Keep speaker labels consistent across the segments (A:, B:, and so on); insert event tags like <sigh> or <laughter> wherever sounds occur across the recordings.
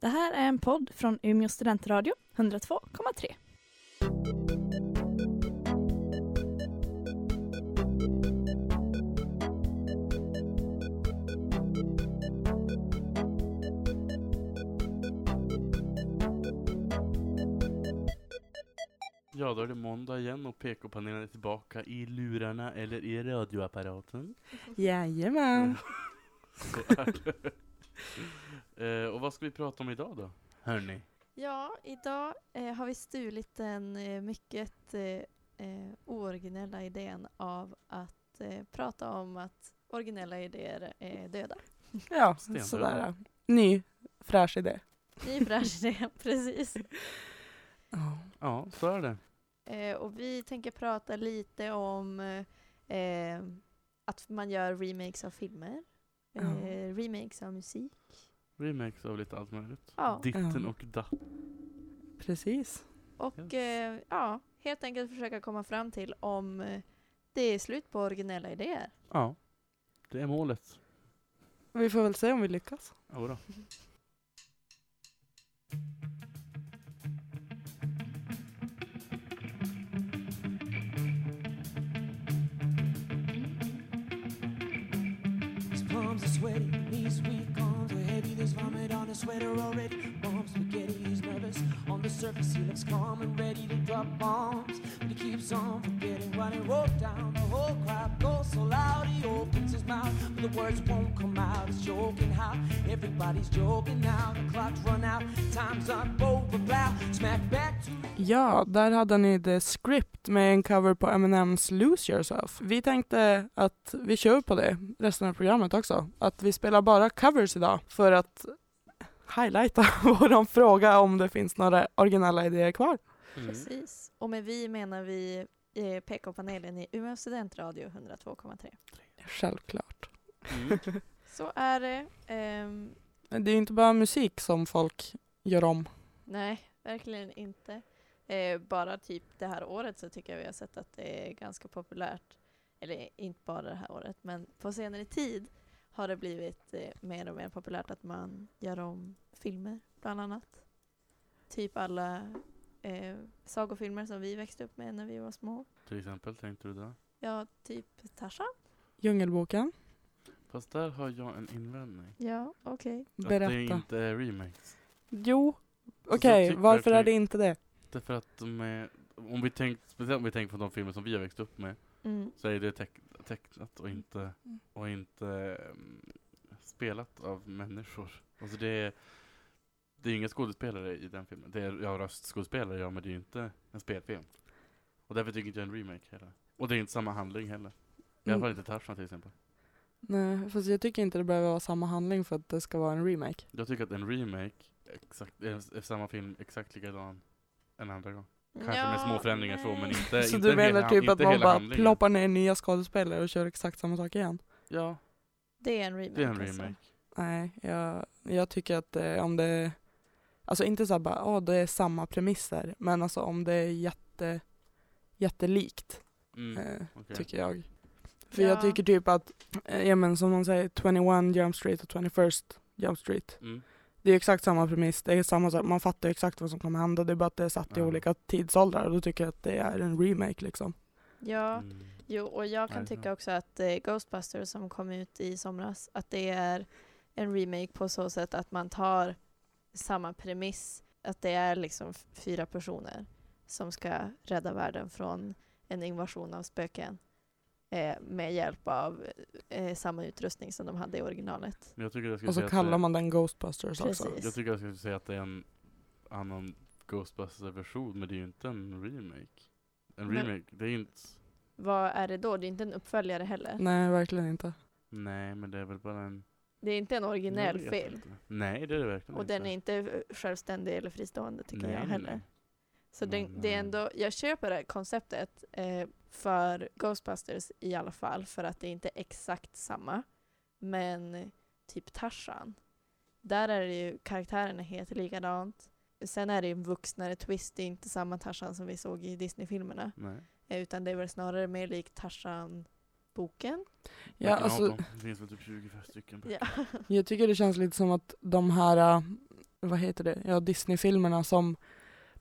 A: Det här är en podd från Umeå studentradio, 102,3.
B: Ja, då är det måndag igen och PK-panelen är tillbaka i lurarna eller i radioapparaten.
C: Jajamän.
B: <laughs> Så är det. Eh, och vad ska vi prata om idag då? Hörni,
D: Ja, idag eh, har vi stulit den eh, mycket eh, eh, ooriginella idén av att eh, prata om att originella idéer är döda.
C: Ja,
B: Stenbra.
C: sådär. ja. Ny fräsch idé.
D: Ny bransch idé, precis.
C: Ja.
B: ja så är det.
D: Eh, och vi tänker prata lite om eh, eh, att man gör remakes av filmer,
C: Ja.
D: eh, remakes av musik.
B: Remakes av lite allt möjligt.
D: Ja.
B: Ditten
C: Ja.
B: och datt.
C: Precis.
D: Och
B: Yes.
D: eh, ja, helt enkelt försöka komma fram till om eh, det är slut på originella idéer.
B: Ja, det är målet.
C: Vi får väl se om vi lyckas.
B: Jodå.
E: His palms are sweaty, knees weak, arms are heavy. There's vomit on his sweater already. Mom's spaghetti, he's nervous. On the surface, he looks calm and ready to drop bombs. But he keeps on forgetting what he wrote down. The whole crowd goes so loud, he opens his mouth. But the words won't come out. He's joking how everybody's joking now. The clock's run out, time's up, over, plow. Smack back to
C: Ja, där hade ni The Script med en cover på Eminems Lose Yourself. Vi tänkte att vi kör på det resten av programmet också. Att vi spelar bara covers idag för att highlighta <laughs> vår fråga om det finns några originella idéer kvar.
B: Mm.
D: Precis. Och med vi menar vi eh, PK-panelen i Umeå studentradio 102,3.
C: Självklart.
B: Mm.
D: Så är det. Ehm,
C: Men det är ju inte bara musik som folk gör om.
D: nej, verkligen inte. Eh, bara typ det här året så tycker jag vi har sett att det är ganska populärt. Eller inte bara det här året, men på senare tid har det blivit eh, mer och mer populärt att man gör om filmer, bland annat. Typ alla eh, sagofilmer som vi växte upp med när vi var små.
B: Till exempel, tänkte du där.
D: Ja, typ Tarzan.
C: Djungelboken.
B: Fast där har jag en invändning.
D: Ja, okej.
B: Att
C: Berätta.
B: det inte är remakes.
C: Jo.
B: jag
C: Okej,
B: tycker
C: varför är
B: verkligen-
C: det inte det?
B: Därför att de är, om vi tänker, speciellt om vi tänker på de filmer som vi har växt upp med,
D: Mm.
B: så är det teck tecknat och inte, och inte mm, spelat av människor. Alltså det är, det är inga skådespelare i den filmen. Det är ja, röstskådespelare, ja, men det är ju inte en spelfilm. Och därför tycker inte jag en remake heller. Och det är inte samma handling heller. I alla fall inte Tarzan till exempel.
C: Nej, fast jag tycker inte det behöver vara samma handling för att det ska vara en remake.
B: Jag tycker att en remake, exakt, är, är samma film exakt likadan en andra gång. Kanske med små förändringar så, men inte,
C: Så
B: Eh, inte
C: du menar
B: hela,
C: typ
B: inte
C: att man
B: hela
C: bara
B: handlingen.
C: ploppar ner nya skådespelare och kör exakt samma sak igen?
B: Ja,
D: Det är en remake.
B: det är en
D: Alltså.
B: remake.
C: Nej, jag, jag tycker att eh, om det... Alltså inte så här bara, åh det är samma premisser, men alltså om det är jätte, jättelikt,
B: Mm,
C: eh,
B: okej.
C: tycker jag. För
D: Ja.
C: jag tycker typ att, eh, ja men som man säger, 21 Jump Street och 21st Jump Street.
B: Mm.
C: Det är exakt samma premiss, det är samma sak, man fattar exakt vad som kommer hända, det är bara att det är satt i
B: Ja.
C: olika tidsåldrar och då tycker jag att det är en remake liksom.
D: Ja,
B: Mm.
D: jo, och jag
B: Nej,
D: kan
B: så.
D: tycka också att eh, Ghostbusters som kom ut i somras, att det är en remake på så sätt att man tar samma premiss, att det är liksom f- fyra personer som ska rädda världen från en invasion av spöken eh, med hjälp av eh, samma utrustning som de hade i originalet.
B: Men jag tycker jag skulle
C: Och så
B: säga att eh,
C: kallar
B: det-
C: man den Ghostbusters också.
D: Precis.
B: Jag tycker jag skulle säga att det är en annan Ghostbusters-version, men det är ju inte en remake. En
D: Men-
B: remake, det är ju inte...
D: Vad är det då? Det är inte en uppföljare heller.
C: Nej, verkligen inte.
B: Nej, men det är väl bara en...
D: Det är inte en originell
B: Jag vet
D: film.
B: inte. Nej, det är det verkligen
D: Och
B: inte.
D: den är inte självständig eller fristående tycker
B: Liksom. Nej,
D: jag
B: nej,
D: heller.
B: nej.
D: Så det,
B: Mm,
D: det är
B: nej.
D: ändå, jag köper det här konceptet eh, för Ghostbusters i alla fall för att det är inte är exakt samma. Men typ Tarzan, där är det ju karaktärerna helt likadant. Sen är det ju en vuxnare twist, det är inte samma Tarzan som vi såg i Disney-filmerna.
B: Nej.
D: Eh, utan det är väl snarare mer lik
B: <laughs>
D: Tarzan-boken.
C: Ja,
B: Vilken av
C: alltså,
D: <laughs>
B: dem? Det finns väl typ 25 stycken. böcker.
D: Ja.
C: jag tycker det känns lite som att de här, äh, vad heter det, ja Disney-filmerna som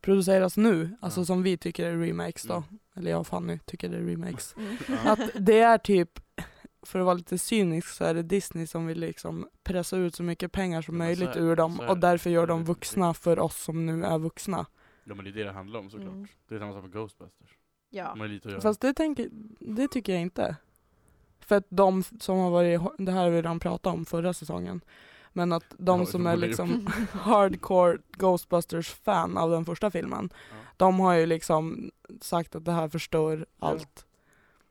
C: produceras nu, alltså
B: Ja.
C: som vi tycker är remakes då,
B: Mm.
C: eller jag och Fanny tycker det är remakes.
D: Mm.
B: Ja.
C: Att det är typ, för att vara lite cynisk så är det Disney som vill liksom pressa ut så mycket pengar som
B: Ja, men så
C: möjligt
B: är-
C: ur dem
B: så är
C: och
B: det.
C: därför
B: Så
C: gör
B: är det
C: de
B: definitivt.
C: vuxna för oss som nu är vuxna.
B: ja men det är det det handlar om såklart.
D: Mm.
B: Det är samma sak med Ghostbusters.
D: Ja.
B: De har ju lite att göra.
C: Fast det, tänker, det tycker jag inte. För att de f- som har varit, det här har vi redan pratat om förra säsongen, men att de
B: Ja,
C: som
B: de
C: är
B: håller
D: <laughs>
C: liksom <laughs> hardcore Ghostbusters-fan av den första filmen,
B: Ja.
C: de har ju liksom sagt att det här förstör allt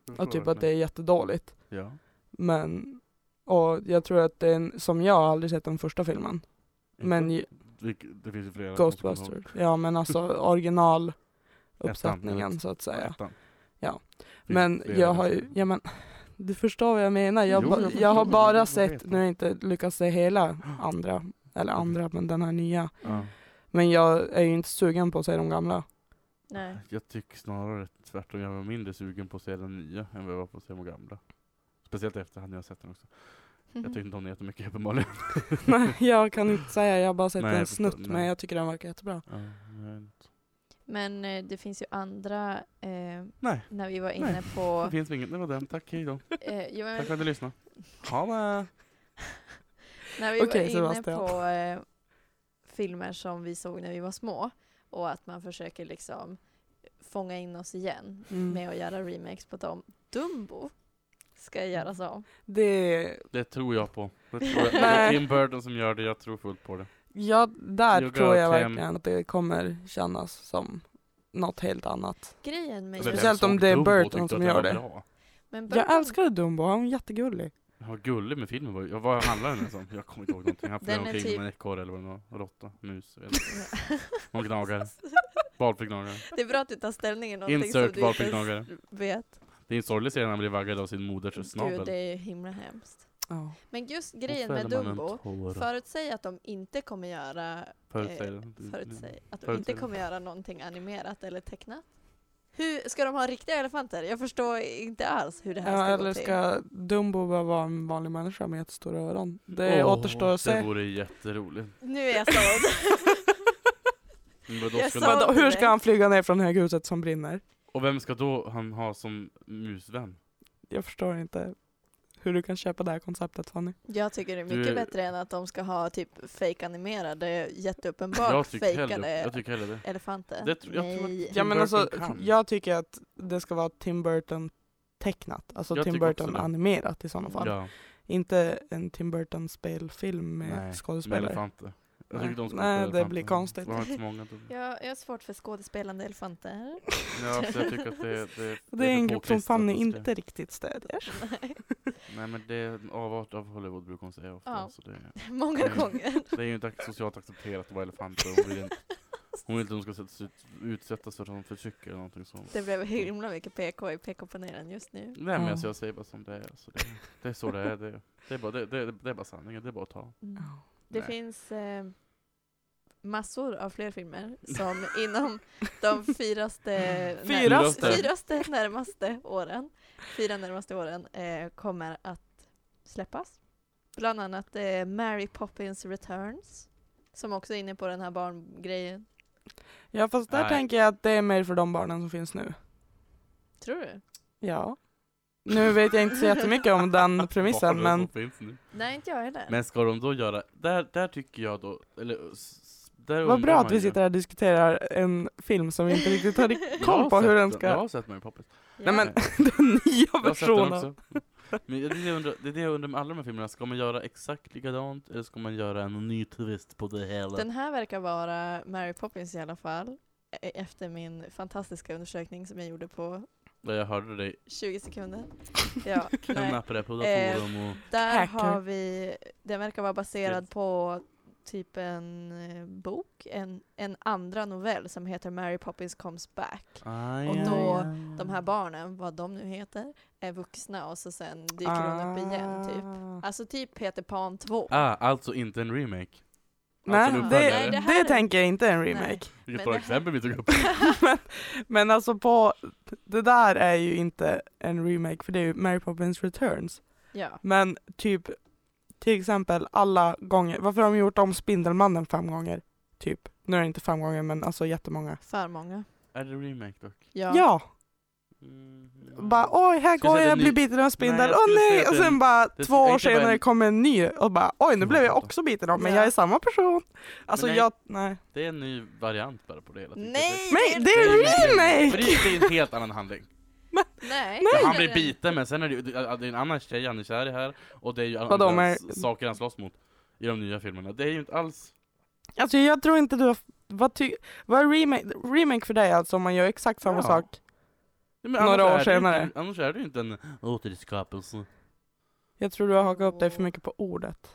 B: Jag
C: och
B: förstår
C: typ att det
B: verkligen.
C: är jättedåligt.
B: Ja.
C: Men, och jag tror att den, som jag har aldrig sett den första filmen. Men ju-
B: det, det finns ju flera.
C: Ghostbusters. Ja
B: <laughs>
C: men alltså originaluppsättningen
B: Ettan,
C: så att säga.
B: Ettan.
C: Ja.
B: Finns
C: Men
B: flera
C: jag har ju,
B: versioner.
C: ja men du förstår vad jag menar. Jag,
B: Jo,
C: ba,
B: jag förstår,
C: jag har
B: men
C: bara
B: jag
C: sett,
B: vet. Mm.
C: nu har jag inte lyckats se
B: <gasps>
C: hela andra, eller andra men den här nya.
B: Ja.
C: Men jag är ju inte sugen på att se
B: <laughs>
C: de gamla. <laughs>
D: Nej.
B: Jag tycker snarare tvärtom. Jag var mindre sugen på att se den nya än vad jag var på att se de gamla. Speciellt efter att jag har sett den också.
D: Mhm.
B: Jag tyckte inte om den jättemycket
D: <laughs>
B: uppenbarligen.
C: Nej jag kan inte säga, jag har bara sett
B: Nej,
C: en
B: jag förstår.
C: snutt men
B: Nej.
C: jag tycker den verkar jättebra.
B: Ja, men-
D: Men eh, det finns ju andra, eh,
B: Nej,
D: när vi var inne
B: Nej.
D: på...
B: det <laughs> finns inget. Det var den. Tack, hej då.
D: Eh, jo, men
B: Tack för att ni lyssnade. Ha det!
D: När vi
C: Okej,
D: var inne
C: Sebastian.
D: på eh, filmer som vi såg när vi var små och att man försöker liksom fånga in oss igen
C: Mm.
D: med att göra remakes på dem. Dumbo ska göras om.
C: Det,
B: Det tror jag på. Det, tror jag. det är
C: Nej.
B: Tim Burton som gör det. Jag tror fullt på det.
C: Ja, där
B: You
C: tror
B: got
C: jag
B: him.
C: verkligen att det kommer kännas som något helt annat.
D: Grejen
B: Men
D: med
C: Speciellt
B: vem
C: om
B: såg
C: det är
B: Dumbo
C: Burton
B: tyckte att
C: som
B: den
C: gör
B: var
C: det.
B: bra?
D: Men Burton-
C: Jag <laughs> älskade Dumbo, han var jättegullig.
B: Ja, Vad gullig med filmen var. Ja, Vad handlar den om? Jag kommer inte ihåg någonting. Han flög
D: Den är
B: omkring
D: typ-
B: med en ekorre eller vad det var. En Råtta, mus. jag vet inte. Någon gnagare. Valpfrignagare.
D: Det är bra att du tar ställning i någonting
B: Insert
D: som du inte ens
B: valpfrignagare.
D: vet.
B: Det är en sorglig scen när han blir vaggad av sin moders
D: Gud,
B: snabel.
D: det är himla hemskt.
C: Ja.
D: Men just
B: Och
D: grejen
B: så
D: med
B: fäller man en
D: Dumbo,
B: tår.
D: förutsäg att de inte kommer göra
B: Förutsäg
D: eh,
B: det.
D: förutsäg att de inte
B: Förutsäg.
D: kommer göra någonting animerat eller tecknat. Hur ska de ha riktiga elefanter? Jag förstår inte alls hur det här
C: Ja,
D: ska
C: eller
D: gå till.
C: ska Dumbo bara vara en vanlig människa med jättestora öron? Det
B: Åh,
C: återstår att
B: Det
C: se.
B: vore jätteroligt.
D: Nu är
C: <laughs>
D: jag såld.
B: Men då
D: Jag
B: ska
D: sa-
B: de-
C: Men då, hur ska
D: direkt.
C: han flyga ner från höghuset som brinner?
B: Och vem ska då han ha som musvän?
C: Jag förstår inte hur du kan köpa det här konceptet Fanny.
D: jag tycker det är
B: Du-
D: mycket bättre än att de ska ha typ fake-animerade,
B: Jag
D: jätteuppenbart
B: tycker hellre,
D: fejkade
B: jag tycker hellre det.
D: elefanter.
B: Det tror- jag tror att-
D: Nej.
C: Ja men
B: Burton
C: alltså,
B: kan.
C: jag tycker att det ska vara Tim Burton tecknat, alltså
B: Jag
C: Tim
B: tycker också
C: Burton
B: det.
C: animerat i sådana fall.
B: Ja,
C: Inte en Tim Burton spelfilm med
B: Nej, med
C: skådespelare.
B: elefanter. Jag
C: Nej.
B: tycker de ska
C: Nej,
B: spela
C: det
B: elefanter.
C: blir konstigt.
B: De har inte så många. då.
D: Jag, jag har svårt för skådespelande elefanter. <laughs>
B: Ja, så jag tycker att det, det,
C: <laughs> Det är en grupp som
B: påklistrat
C: Fanny
B: att de ska-
C: inte riktigt stödjer.
D: Nej,
B: Nej men det är en avart av Hollywood brukar hon säga ofta.
D: Ja.
B: Så det,
D: Många
B: Mm. <laughs>
D: gånger.
B: det är ju inte ac- socialt accepterat att vara elefant. och Hon vill inte, hon vill inte att de ska sättas ut- utsättas för sån förtryck eller någonting sånt.
D: Det blev himla mycket PK i PK-panelen just nu.
B: Nej men
C: Ja.
B: alltså, jag säger bara som det är. Alltså, det, det är så det är. Det, det, är bara, det, det, det är bara sanningen. Det är bara att ta.
D: Mm. Det
B: Nej.
D: finns eh, massor av
C: <laughs>
D: fler filmer som inom de fyraste, när-
C: Fyraste?
D: fyraste närmaste åren, fyra närmaste åren eh, kommer att släppas. Bland annat eh, Mary Poppins Returns, som också är inne på den här barngrejen.
C: Ja fast där
B: Nej.
C: tänker jag att det är mer för de barnen som finns nu.
D: Tror du?
C: Ja. Nu vet jag inte så jättemycket om
B: <laughs>
C: den premissen
B: Barnen
C: men
B: som finns nu.
D: Nej, inte jag heller.
B: Men ska de då göra, där, där tycker jag då, eller s- s- där
C: vad
B: undrar
C: bra
B: man
C: att vi
B: ju.
C: sitter här och diskuterar en film som vi inte
B: <laughs>
C: riktigt
D: <laughs>
C: har riktigt koll
B: Jag
C: på
B: har
C: hur
B: sett
C: den ska-
B: Jag har sett Mary Poppins.
D: Ja.
C: Nej, men- <laughs>
B: Nej.
C: den nya
B: Jag har sett den
C: versionen.
B: också. Men det är det jag undrar, det är det jag undrar med alla de här filmerna, ska man göra exakt likadant eller ska man göra en ny twist på det hela?
D: Den här verkar vara Mary Poppins i alla fall, e- efter min fantastiska undersökning som jag gjorde på
B: Där jag hörde dig
D: 20 sekunder.
C: <laughs>
D: Ja, nej.
B: knappa det på
D: Eh,
B: forum och...
D: Där
C: Hacker.
D: har vi, den verkar vara baserad
B: Yes.
D: på typ en eh, bok, en, en andra novell som heter Mary Poppins comes back.
B: Aj,
D: och
B: aj,
D: då
B: aj.
D: De
C: Ah.
D: här barnen, vad de nu heter, är vuxna och så sen dyker hon upp igen typ.
C: Ah.
D: Alltså typ Peter Pan 2.
B: Ah, alltså inte en remake.
C: Nej,
B: en
C: det,
B: uppföljare.
C: det,
D: Nej, det här-
C: tänker jag inte är en remake.
D: Nej.
B: Vilket
D: men
B: bra
D: det här-
B: exempel vi tog upp.
C: Men alltså på, det där är ju inte en remake för det är ju Mary Poppins Returns.
D: <laughs> ja.
C: Men typ, till exempel alla gånger, varför har de gjort om Spindelmannen fem gånger? typ. Nu är det inte fem gånger men alltså jättemånga.
D: För många.
B: Är det remake dock?
D: Ja.
C: Ja! ja.
B: Mm.
C: Bara oj, här
B: Ska jag
C: går
B: säga
C: jag,
B: att det är
C: blir
B: ny-
C: biten av en
B: Nej,
C: spindel,
B: jag
C: åh
B: skulle säga
C: nej!
B: att
C: Och
B: det är
C: sen bara
B: det Mm, är
C: två år
B: inte bara en-
C: senare kommer en ny och bara oj, nu blev jag också biten av, men
D: Ja.
C: jag är samma person. Alltså
B: nej.
C: jag, nej.
B: Det är en ny variant bara på det hela. tycker jag.
D: Nej!
C: Men det
B: Det
C: är en
B: är en
C: remake!
B: För det är, det är en helt annan handling.
D: Nej.
C: Nej.
B: Han blir biten men sen är det, ju- det är en annan tjej han är kär i här och det är ju
C: Vadå,
B: andra
C: men-
B: s- saker han slåss mot i de nya filmerna. Det är ju inte alls...
C: Alltså jag tror inte du har, vad, ty, vad är remake, remake för dig alltså om man gör exakt samma
B: Ja.
C: sak?
B: Men
C: Några
B: annars
C: år
B: är det ju
C: senare.
B: Inte, annars är det ju inte en återskapelse.
C: Jag tror du har hakat upp dig för mycket på ordet.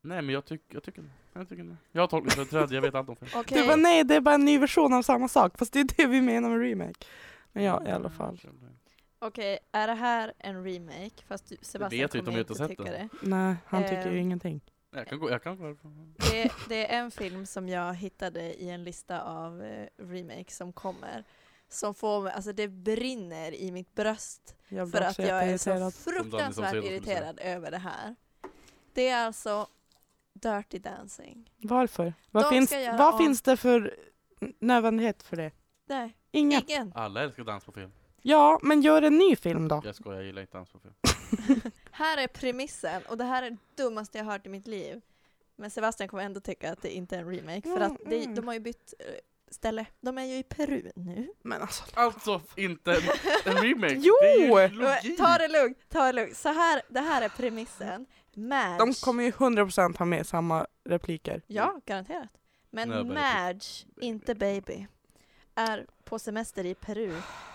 B: Nej men jag, tyck, jag tycker jag tycker inte. Jag har tolkningsföreträde, jag vet allt om film.
D: Okej.
C: Du bara nej, det är bara en ny version av samma sak, fast det är det vi menar med remake. Men <laughs> ja, i alla fall.
D: Okej, är det här en remake? Fast du, Sebastian
B: vet vi inte om
D: kommer
B: vi
D: inte
B: inte har sett
D: tycka
B: den.
D: det.
C: Nej, han tycker ju
D: Eh.
C: ingenting.
B: Jag kan gå, jag kan gå härifrån.
D: det. Det är en film som jag hittade i en lista av eh, remakes som kommer. Som får mig, alltså det brinner i mitt bröst.
C: Jag blir
D: För att
C: också
D: jag är så
C: jätteirriterad.
B: Som Danny
D: fruktansvärt
B: som ser det skulle
D: irriterad över det här. Det är alltså Dirty Dancing.
C: Varför? Vad,
D: De
C: finns,
D: ska göra
C: vad
D: om-
C: finns det för n- nödvändighet för det?
D: Nej,
C: Inga.
D: ingen.
B: Alla älskar dans på film.
C: Ja, men gör en ny film då.
B: Jag skojar, jag gillar inte dans på film.
D: Här är premissen och det här är det dummaste jag hört i mitt liv. Men Sebastian kommer ändå tycka att det inte är en remake för
C: Mm,
D: att det,
C: mm.
D: de har ju bytt eh, ställe. De är ju i Peru nu.
C: <laughs> Men alltså,
B: Alltså inte en, en remake!
C: Jo!
B: Det är ju
C: Men
B: logik!
D: Eh, Ta det lugnt, ta det lugnt. Så här, det här är premissen. Madge.
C: de kommer ju 100% ha med samma repliker.
D: Ja, garanterat. Men
B: Nej, bara-
D: Madge, inte baby, är på semester i Peru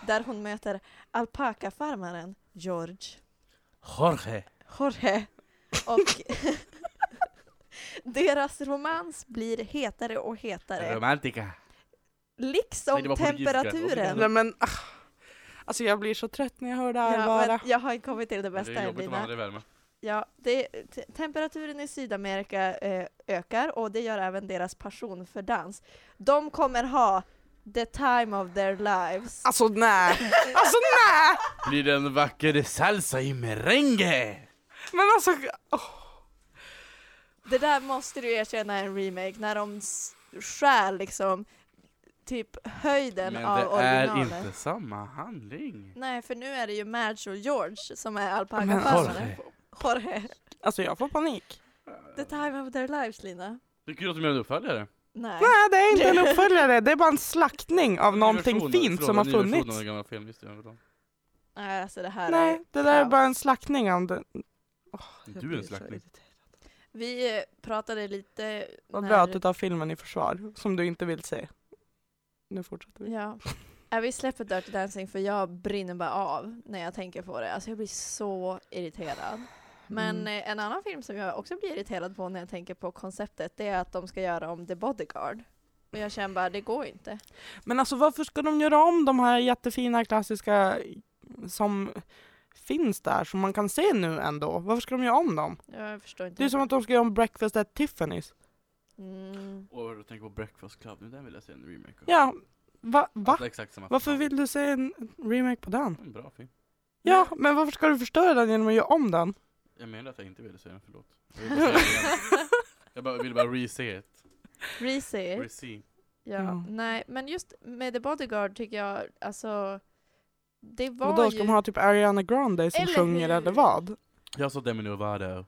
D: där hon möter alpakafarmaren George
B: Jorge!
D: Jorge och <laughs> deras romans blir hetare och hetare.
B: Romantica! Nej, det
D: Liksom
B: var portugisiska.
D: temperaturen.
C: Nej men, ah. alltså jag blir så trött när jag hör det här
D: Ja,
C: bara.
D: men jag har ju kommit till det
B: Det
D: bästa
B: är jobbigt om
D: Evelina.
B: andra är värme.
D: Ja, det, te- temperaturen i Sydamerika eh, ökar och det gör även deras passion för dans. De kommer ha the time of their lives.
C: Alltså nej,
D: <laughs>
C: alltså nej!
B: Blir det en vacker salsa i merengue?
C: Men alltså, åh.
D: Det där måste du erkänna är en remake, när de s- skär liksom typ höjden
B: Men
D: av
B: det är
D: originalet.
B: inte samma handling.
D: Nej, för nu är det ju Madge och George som är
C: Men
D: alpakafarmare. Jorge.
C: alltså jag får panik.
D: The time of their lives, Lina.
B: Det är kul att de gör en uppföljare.
D: Nej.
C: Nej det är inte en uppföljare, det är bara en slaktning av någonting
B: Versioner,
C: fint
B: förlåt,
C: som har
B: en ny version av
C: funnits.
B: den gamla filmen, just det, jag vet om.
D: Nej, alltså det här är...
C: Nej, det där är
D: kaos.
C: bara en slaktning av den. Jag
B: Du är
C: blir
B: en
C: så
B: slaktning.
C: irriterad.
D: Vi eh, pratade lite...
C: Vad
D: när-
C: bra att du tar filmen i försvar, som du inte vill se. Nu fortsätter vi.
D: Ja. Äh, vi släpper Dirty Dancing för jag brinner bara av när jag tänker på det. Alltså jag blir så irriterad. Men
C: Mm.
D: eh, en annan film som jag också blir irriterad på när jag tänker på konceptet det är att de ska göra om The Bodyguard. Och jag känner bara, det går inte.
C: Men alltså varför ska de göra om de här jättefina klassiska som finns där, som man kan se nu ändå? Varför ska de göra om dem?
D: Jag förstår inte.
C: Det är som att de ska göra om Breakfast at Tiffany's.
D: Mm. <laughs>
B: Och du tänker på Breakfast Club, nu där vill jag se en remake av.
C: Ja, va? va?
B: Alltså, exakt samma
C: Varför
B: förslag.
C: vill du se en remake på den?
B: En bra film.
C: Ja, men varför ska du förstöra den genom att göra om den?
B: Jag menar att jag inte ville se den, förlåt. Jag vill bara, se den igen. jag bara, vill bara re-se it.
D: Reese.
B: Re-se.
D: Ja.
C: Ja.
D: Nej, men just med The Bodyguard tycker jag, alltså... Det var
C: Och då ska
D: ju...
C: de ha typ Ariana Grande som
D: Eller
C: sjunger
D: hur?
C: eller vad?
B: Jag såg Demi Lovato.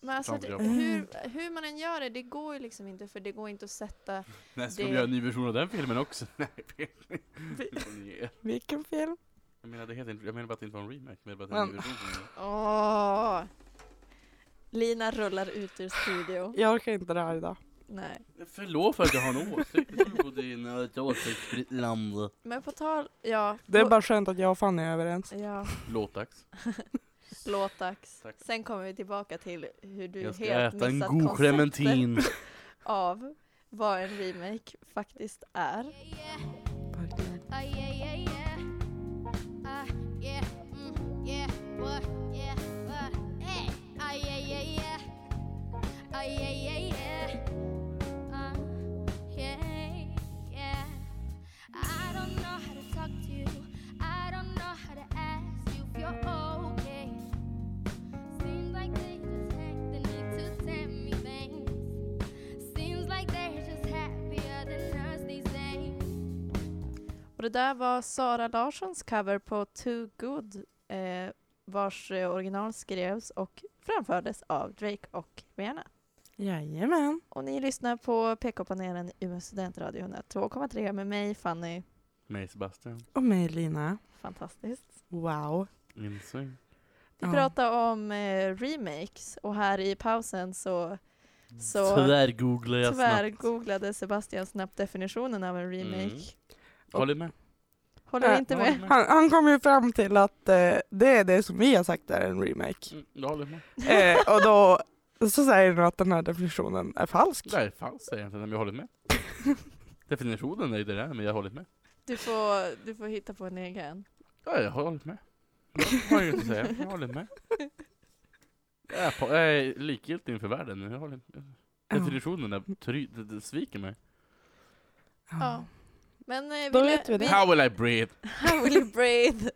D: Men alltså, det,
B: framför
C: Mm.
D: hur, hur man än gör det, det går ju liksom inte för det går inte att sätta...
B: Nej, ska de
D: Det-
B: göra en ny version av den filmen också? <laughs> Nej, fel. Nu får ni ge.
C: Vilken film?
B: jag menar, det heter inte, jag menar bara att det inte var en remake, men bara att det är en ny
C: Men-
B: version. som är-
D: Åh. Lina rullar ut ur studio.
C: Jag orkar inte det här idag.
D: Nej.
B: Förlåt för att jag har en
D: <laughs>
B: åsikt. Jag tror på din eh, ett åsiktsfritt land.
D: Men på tal... Ja.
C: Det är
D: på,
C: bara skönt att jag och Fanny är överens.
D: Ja,
B: Låtdags.
D: <laughs> låt dags.
B: Tack.
D: Sen kommer vi tillbaka till hur du
B: Jag ska
D: helt
B: äta en
D: missat
B: god
D: konceptet
B: clementin.
D: av vad en remake faktiskt är.
F: Uh, yeah, yeah, yeah. Uh, yeah, mm, yeah, what, yeah, what, hey. Uh, yeah, yeah, yeah. Uh, yeah, yeah, yeah. Uh, yeah, yeah. I don't know how to talk to you. I don't know how to ask you if you're okay. Seems like they just had the need to tell me things. Seems like they just had
D: Och det där var Sara Larssons cover på Too Good eh, vars eh, original skrevs och framfördes av Drake och Rihanna.
C: Jajamän.
D: Och ni lyssnar på PK-panelen i Umeå studentradio 102,3 med mig Fanny.
B: Mig Sebastian.
C: Och mig Lina.
D: Fantastiskt.
C: Wow.
B: Insyn.
D: Vi
C: Ja.
D: pratar om eh, remakes och här i pausen så Så-
B: Tvärgooglar jag
D: tyvärr
B: snabbt.
D: googlade Sebastian snabbt definitionen av en remake.
B: Mm. Håller med.
D: Håller
C: Äh,
D: inte
B: jag
D: med?
B: håller med.
C: Han, han kom ju fram till att eh, det är det som vi har sagt är en remake.
B: Mm, jag håller med.
D: Mm.
C: <laughs> Eh, och då så säger han att den här definitionen är falsk.
B: Det är falskt egentligen, men jag håller
D: <laughs>
B: med. Definitionen är ju det där, men jag håller med.
D: <laughs> Du får, du får hitta på en egen.
B: Ja, jag håller med. Jag har inget att säga, jag håller <laughs> med. Jag är, på, jag är likgiltig inför världen, men jag håller med. Definitionen är try, det, det sviker mig.
D: Ja. Men eh,
C: Då
D: vill-
C: vet vi det.
B: How will I breathe?
D: <laughs> How will you breathe?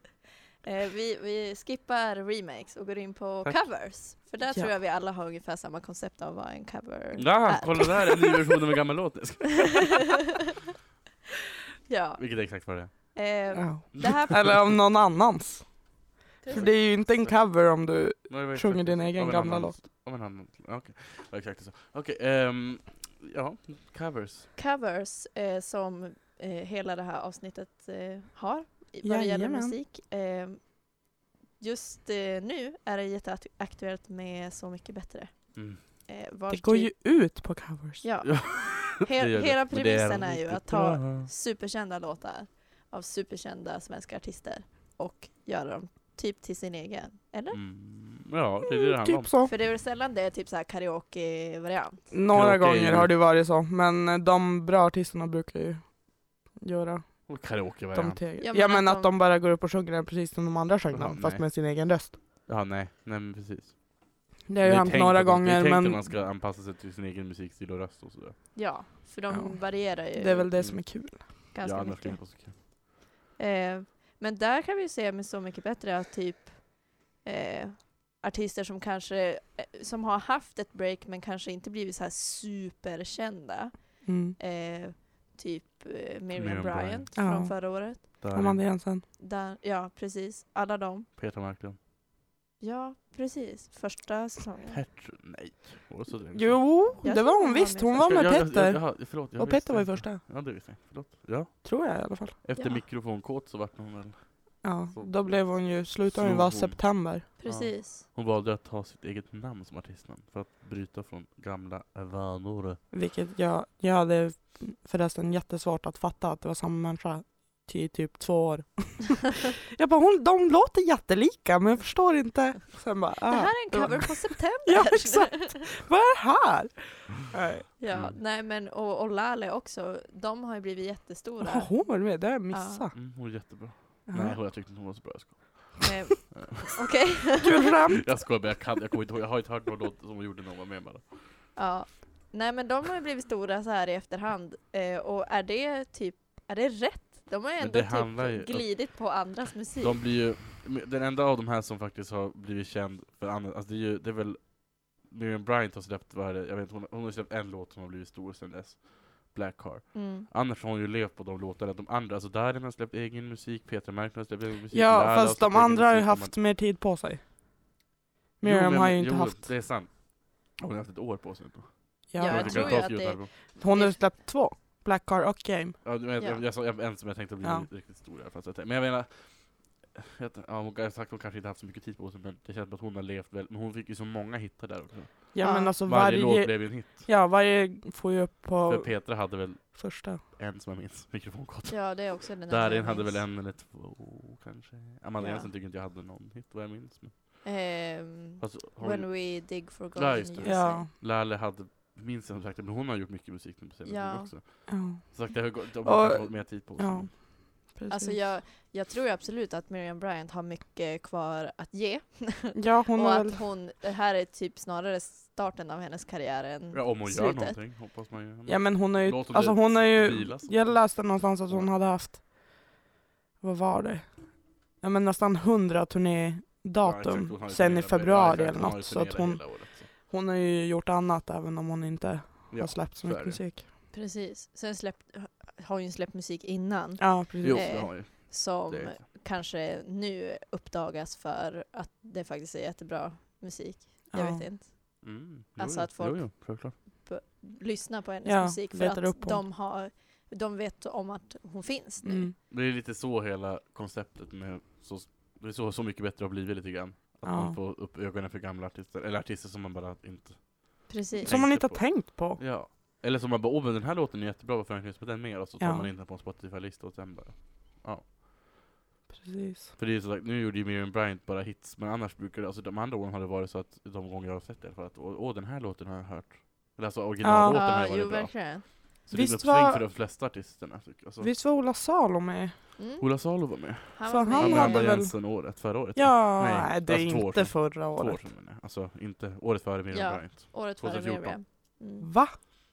D: Eh, vi, vi skippar remakes och går in på
B: Tack.
D: covers. För där
C: Ja.
D: tror jag vi alla har ungefär samma koncept av vad en cover
B: Ja,
D: är. <laughs>
B: kolla där, en ny version av en gammal låt.
D: ja.
B: Vilket är exakt vad det är.
D: Eh,
C: Ja.
D: det här
B: Äh,
C: Eller om någon annans. För det är ju inte en cover om du
B: Ja, det var exakt-
C: sjunger din egen
B: av en
C: gamla
B: annan-
C: låt.
B: Av en annan, okej. Ja, exakt så. Okej, ehm, ja, covers.
D: covers eh, som eh, hela det här avsnittet eh, har i- vad det gäller
C: Jajamän.
D: musik. Eh, just eh, nu är det jätteaktuellt med Så mycket bättre.
B: Mm.
D: Eh, vars
C: Det går
D: typ-
C: ju ut på covers.
D: Ja.
B: Ja,
D: He-
B: det gör det.
D: hela
B: Men det
D: premissen är ju
B: riktigt
D: att ta
B: bra.
D: superkända låtar av superkända svenska artister och göra dem typ till sin egen. Eller?
B: Mm, ja, det är det det handlar om.
C: Typ så.
D: För det är väl sällan det är typ så här karaoke-variant.
C: Några
B: Karaoke är
C: gånger
B: ju-
C: har det varit så, men de bra artisterna brukar ju göra
B: Och karaoke
C: de
B: variant.
C: till.
D: Ja,
C: Ja,
D: men
C: men
D: att
C: att de bara går upp och sjunger den precis som de andra sjöng
B: Jaha,
C: den, fast
B: nej.
C: med sin egen röst.
B: Ja, nej, nej men precis.
C: Det har ju
B: är
C: hänt
B: tänkt
C: några
B: att man- det är
C: gånger,
B: tänkt
C: men
B: att man ska anpassa sig till sin egen musikstil och röst och sådär.
D: Ja, för de
C: Ja.
D: varierar ju
C: det är väl det som är kul.
D: ganska
B: ja, annars skulle
D: mycket.
B: det vara så kul.
D: Eh, men där kan vi ju se med Så mycket bättre att typ eh, artister som kanske eh, som har haft ett break men kanske inte blivit så här superkända.
C: Mm.
D: Eh, typ eh, Miriam,
B: Miriam
D: Bryant,
B: Bryant.
D: från
C: Ja.
D: förra året.
B: Där,
C: Amanda Jensen.
D: Där, ja, precis. Alla de.
B: Petra Marklund.
D: Ja, precis. Första säsongen.
B: Petra, nej. Och så det.
C: Jo,
D: Jag
C: det
D: tror
C: var
D: hon
C: hon
D: var
C: visst.
D: med
C: Hon
D: först.
C: var med
B: Ja, ja, ja,
C: Petter.
B: jaha, förlåt, jag
C: Och
B: visste
C: Petter var ju
B: inte.
C: första,
B: Ja, det visste jag. Förlåt. Ja.
C: tror jag i alla fall.
B: Efter
D: Ja.
B: mikrofonkåt så vart hon väl...
C: Ja,
B: Så-
C: då blev hon ju, slutade hon ju
B: Slog
C: vara
B: hon.
C: september.
D: Precis.
B: Hon valde att ta sitt eget namn som artistnamn för att bryta från gamla vanor.
C: Vilket jag, jag hade förresten jättesvårt att fatta att det var samma människa till typ två
D: <laughs>
C: år. jag bara, hon, de låter jättelika men jag förstår inte. Sen bara, ah,
D: Det här är en
C: var-
D: cover på September.
C: Ja, exakt. <laughs> Vad är det här? Nej.
D: <laughs> ja,
B: Mm.
D: nej men och Olale också. De har ju blivit jättestora.
C: Har hon varit med? Det har jag missat.
B: Mm, hon är jättebra.
C: Ja.
D: <laughs>
B: Nej, jag tyckte inte hon var så bra. Jag skojar.
D: Eh, Okej.
C: Kul skämt.
B: Jag skojar, men jag kan jag kommer inte ihåg. Jag har inte hört någon låt som hon gjorde när hon var med bara.
D: Ja. Nej men de har ju blivit stora så här i efterhand. Eh, och är det typ, är det rätt? De har ju
B: Men
D: ändå
B: det handlar ju-
D: typ glidit på andras musik.
B: De blir ju, den enda av de här som faktiskt har blivit känd för andra, alltså det är ju, det är väl Miriam Bryant har släppt, vad är det, jag vet inte, hon, hon har släppt en låt som har blivit stor sedan dess. Black Car.
D: Mm.
B: Annars har hon ju levt på de låtarna, de andra, alltså Darin har släppt egen musik, Petra Marklund har släppt egen musik,
C: Ja,
B: Lala har
C: fast
B: släppt
C: de
B: egen
C: andra har ju
B: musik, de
C: haft mer tid på sig.
B: Jo,
C: Miriam
B: men-
C: har ju inte
B: jo,
C: haft.
B: Det är sant. Hon har haft ett år på sig. ändå.
C: Ja,
D: Jag
B: Hon har
D: tror
B: kunnat
D: ju
B: ta
D: att
B: sig ut
D: det-
B: här.
C: Hon har ju släppt två. Black Car och Game.
B: Ja, du vet,
D: Ja.
B: Jag, jag sa jag- en som jag tänkte bli
C: Ja.
B: riktigt stor i alla fall. så att jag- Men jag menar, jag vet inte, ja, hon, jag har sagt att hon kanske inte haft så mycket tid på sig, men det känns som att hon har levt väl. Men hon fick ju så många hittar där också.
C: Ja,
D: Ja.
C: men alltså
B: Varje,
C: varje...
B: låt blev ju en hit.
C: Ja, varje får ju upp
B: För
C: på
B: Petra hade väl
C: första.
B: en som jag minns, mikrofonkort.
D: Ja det är också den
B: Darin hade väl en eller två kanske. Amanda
D: Ja.
B: Jensen tycker inte jag hade någon hit vad jag minns. Men.
D: Ehm,
B: Fast hon,
D: when we dig for golden
B: Ja, just det.
D: years.
C: Ja.
B: Lale hade, minns jag som sagt, men hon har gjort mycket musik nu på senare
D: Ja.
B: tid också.
C: Ja,
B: Så sagt, det har gått, de
C: Och-
B: har fått mer tid på sig.
C: ja. precis.
D: Alltså jag, jag tror ju absolut att Miriam Bryant har mycket kvar att ge.
C: Ja, <laughs> hon
D: och
C: har
D: att
C: väl...
D: hon, det här är typ snarare starten av hennes karriär än...
B: Ja, om hon
D: Slutet.
B: gör någonting, hoppas man ju.
C: Ja, men hon har ju...
B: Låt det
C: Alltså hon har ju...
B: vilas.
C: Jag läste någonstans att hon hade haft... Vad var det? Ja, men nästan hundra
B: Ja, exakt, hon
C: turnédatum
B: har ju
C: sen i
B: turnerat-
C: februari
B: ja, exakt,
C: eller
B: hon har ju
C: något. Så att
B: turnerat
C: hon,
B: hela året, så.
C: hon har ju gjort annat även om hon inte
B: Ja,
C: har släppt så
B: så är
C: mycket
B: det.
C: musik.
D: Precis. Sen släppt, har ju släppt musik innan
C: Ja, precis.
B: Jo,
D: Eh,
B: det har jag ju.
D: som
B: Det vet jag.
D: kanske nu uppdagas för att det faktiskt är jättebra musik.
C: Ja.
D: Jag vet inte.
B: Mm, jo,
D: alltså
B: jo.
D: att folk-
B: Jo, jo, självklart.
D: Lyssna på hennes
C: Ja,
D: musik för
C: letar
D: att
C: upp hon.
D: de, har, de vet om att hon finns nu.
C: Mm.
B: Det är lite så hela konceptet med så, det är så, så mycket bättre har blivit lite grann. Att
C: Ja.
B: man får upp ögonen för gamla artister, eller artister som man bara inte...
D: Precis.
C: Som man inte har
B: på.
C: tänkt på.
B: Ja. Eller som man bara, åh men den här låten är jättebra, varför har jag inte lyssnat på den mer? Och så tar
C: Ja.
B: man in den på en Spotify-lista och sen bara...
C: Precis.
B: För det är så sagt, nu gjorde ju Miriam Bryant bara hits, men annars brukar det, alltså de andra åren har det varit så att de gånger jag har sett det i alla fall, att åh åh, den här låten har jag hört. Eller alltså originallåten har har
D: Ja, jo
B: varit bra.
D: verkligen.
B: Så det är en
C: Visst
B: uppsving
C: var-
B: för de flesta artisterna. tycker jag. Alltså,
C: Visst var Ola Salo med?
D: Mm.
B: Ola Salo var med.
D: Han
C: Fan,
D: var
C: han
B: Han
D: med.
C: hade
B: hade
C: väl-
B: Jensen-året, förra året.
C: Ja,
B: Nej,
C: nej, det är
B: alltså två år
C: inte
B: sedan.
C: förra
B: Två år
C: året.
B: sedan menar jag. Alltså inte året före Miriam
D: Ja.
B: Bryant.
D: året före
B: 2014.
D: Miriam. Mm.
C: Va?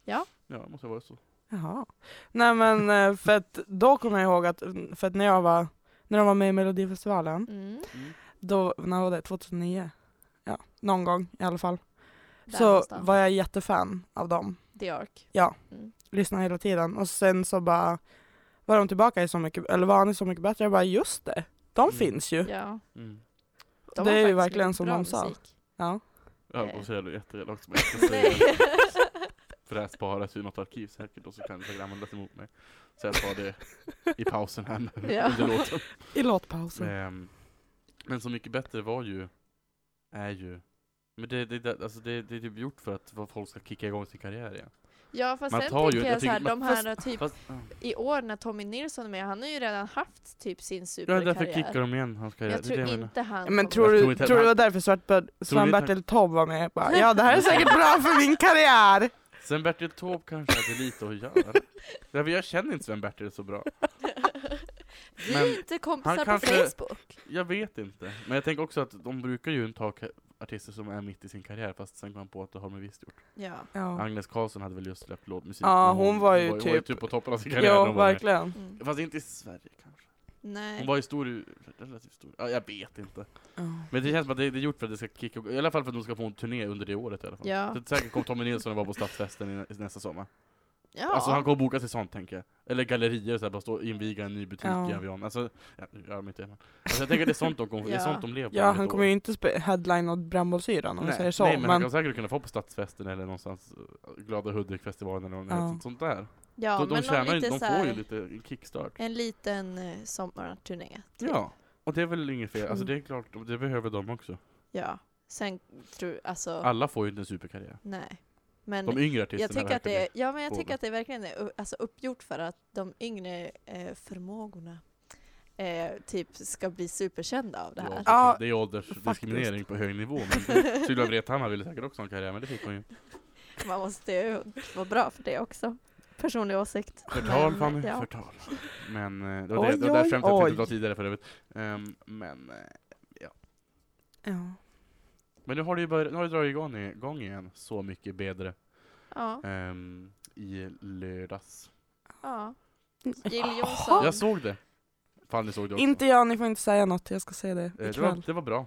B: Ja, det måste ha varit så.
C: Jaha. Nej men eh, för att då kommer jag ihåg att, mm, för att när jag var, när de var med i Melodifestivalen,
D: Mm.
B: Mm.
C: då, när var det? 2009? Ja, någon gång i alla fall.
D: Där
C: Så
D: någonstans.
C: var jag jättefan av dem.
D: The Ark.
C: Lyssnade hela tiden och sen så bara var de tillbaka i Så mycket, eller var han i Så mycket bättre? Jag bara just det, de
B: Mm.
C: finns ju.
D: Ja.
B: Mm.
D: De
C: Det
D: har
C: är ju
D: faktiskt
C: verkligen
D: mycket
C: som
D: bra
C: de sa.
D: musik.
C: Ja.
B: Ja,
D: Eh.
B: och så är du jätterädd också. men jag ska säga <laughs> det. För det här sparas ju i något arkiv säkert och så kan det användas emot mig. Så jag tar det i pausen här
D: <laughs>
B: med
D: Ja.
B: under låten.
C: I låtpausen.
B: Men, Ehm, men Så mycket bättre var ju, är ju, men det, det, det, alltså det, det är typ gjort för att vad folk ska kicka igång sin karriär igen.
D: <laughs> Ja fast
B: Man
D: sen
B: tar ju-
D: tänker jag,
B: jag
D: så här,
B: tycker-
D: de här typ
B: Fast, ja.
D: i år när Tommy Nilsson är med, han har ju redan haft typ sin
B: ja,
D: superkarriär.
B: därför kickar de igen hans karriär.
D: jag
B: Det är
D: tror
B: det jag menar.
D: inte han
C: Men
D: kommer-
C: tror
B: Jag
C: du,
B: tror inte-
C: tror du det var därför Svartbör- Sven-Bertil Taube var med? Bara, ja det här
D: <laughs>
C: är säkert bra för min karriär!
B: Sen Bertil Taube kanske hade lite att göra. Därför jag känner inte Sven-Bertil så bra.
D: <laughs> Vi
B: Men
D: är inte kompisar
B: han
D: på
B: kanske-
D: Facebook.
B: Jag vet inte. Men jag tänker också att de brukar ju inte ha ka- artister som är mitt i sin karriär, fast sen kom man på att det har de visst gjort.
D: Ja.
C: Ja,
B: Agnes Karlsson hade väl just släppt låtmusik.
C: Ja,
B: men
C: hon var ju
B: hon var ju
C: typ-
B: typ på toppen av sin karriär. när
C: ja
B: hon var med.
C: verkligen.
D: Mm.
B: Fast inte i Sverige kanske.
D: Nej.
B: Hon var ju stor, i- relativt stor. Ja, jag vet inte. Men det känns som att det det är gjort för att det ska kicka I alla fall för att de ska få en turné under det året i alla fall.
D: Ja.
B: Så säkert kommer Tommy Nilsson att vara på Stadsfesten i- i nästa sommar.
D: Ja.
B: Alltså han kommer boka sig sånt tänker jag. Eller gallerier så här, bara stå och inviga en ny butik
C: Ja.
B: i Avion. Alltså, ja, nu gör de inte det. men- Alltså, jag tänker att det är sånt de, kommer, det är
D: Ja.
B: sånt de lever på
C: <laughs> Ja,
B: under
C: han
B: ett
C: kommer
B: år.
C: ju inte spe- headline åt Brännbollsyran om vi
B: Nej,
C: säger så.
B: nej men, han
C: men
B: kommer säkert kunna få på Stadsfesten eller någonstans eh, Glada Hudik-festivalen eller något
C: Ja.
B: sånt- sånt där.
D: ja,
B: de, de,
D: men
B: tjänar,
D: någon
B: ju-
D: lite
B: de får
D: så här,
B: ju lite en kickstart.
D: en liten eh, sommarturné. typ.
B: Ja, och det är väl inget fel. Alltså
C: Mm.
B: det är klart, det behöver de också.
D: ja. Sen tror alltså,
B: Alla får ju inte en superkarriär.
D: nej. Men
B: Ah. De yngre artisterna
D: jag tycker, att det, är- ja, men jag
B: på
D: tycker
B: det.
D: att det verkligen är u- alltså, uppgjort för att de yngre eh, förmågorna eh, typ ska bli superkända av
B: <laughs>
D: det här.
B: Ja,
C: Ja,
B: det är åldersdiskriminering på hög nivå.
D: <laughs>
B: Men Sylvia Vrethammar ville säkert också ha en karriär, men det fick hon ju.
D: Man måste ju vara bra för det också. Personlig åsikt.
B: Förtal
D: Men,
B: Fanny,
D: <laughs> ja.
B: förtal. Men eh, det var det,
C: Oj,
B: det, var
C: oj,
B: det skämtet jag tänkte dra
C: oj.
B: tidigare för övrigt. Ehm, men, eh,
C: ja.
B: men nu har det ju börjat, nu har det dragit igång, i- igång igen, Så mycket bättre,
D: Ja,
B: ehm, i lördags.
D: ja. Jill
C: Ja.
B: Jag
D: Johnson.
B: såg det! Fanny såg det också.
C: Mm. Inte jag, ni får inte säga något. Jag ska säga det
B: Eh, det,
C: ikväll.
B: var, det var bra.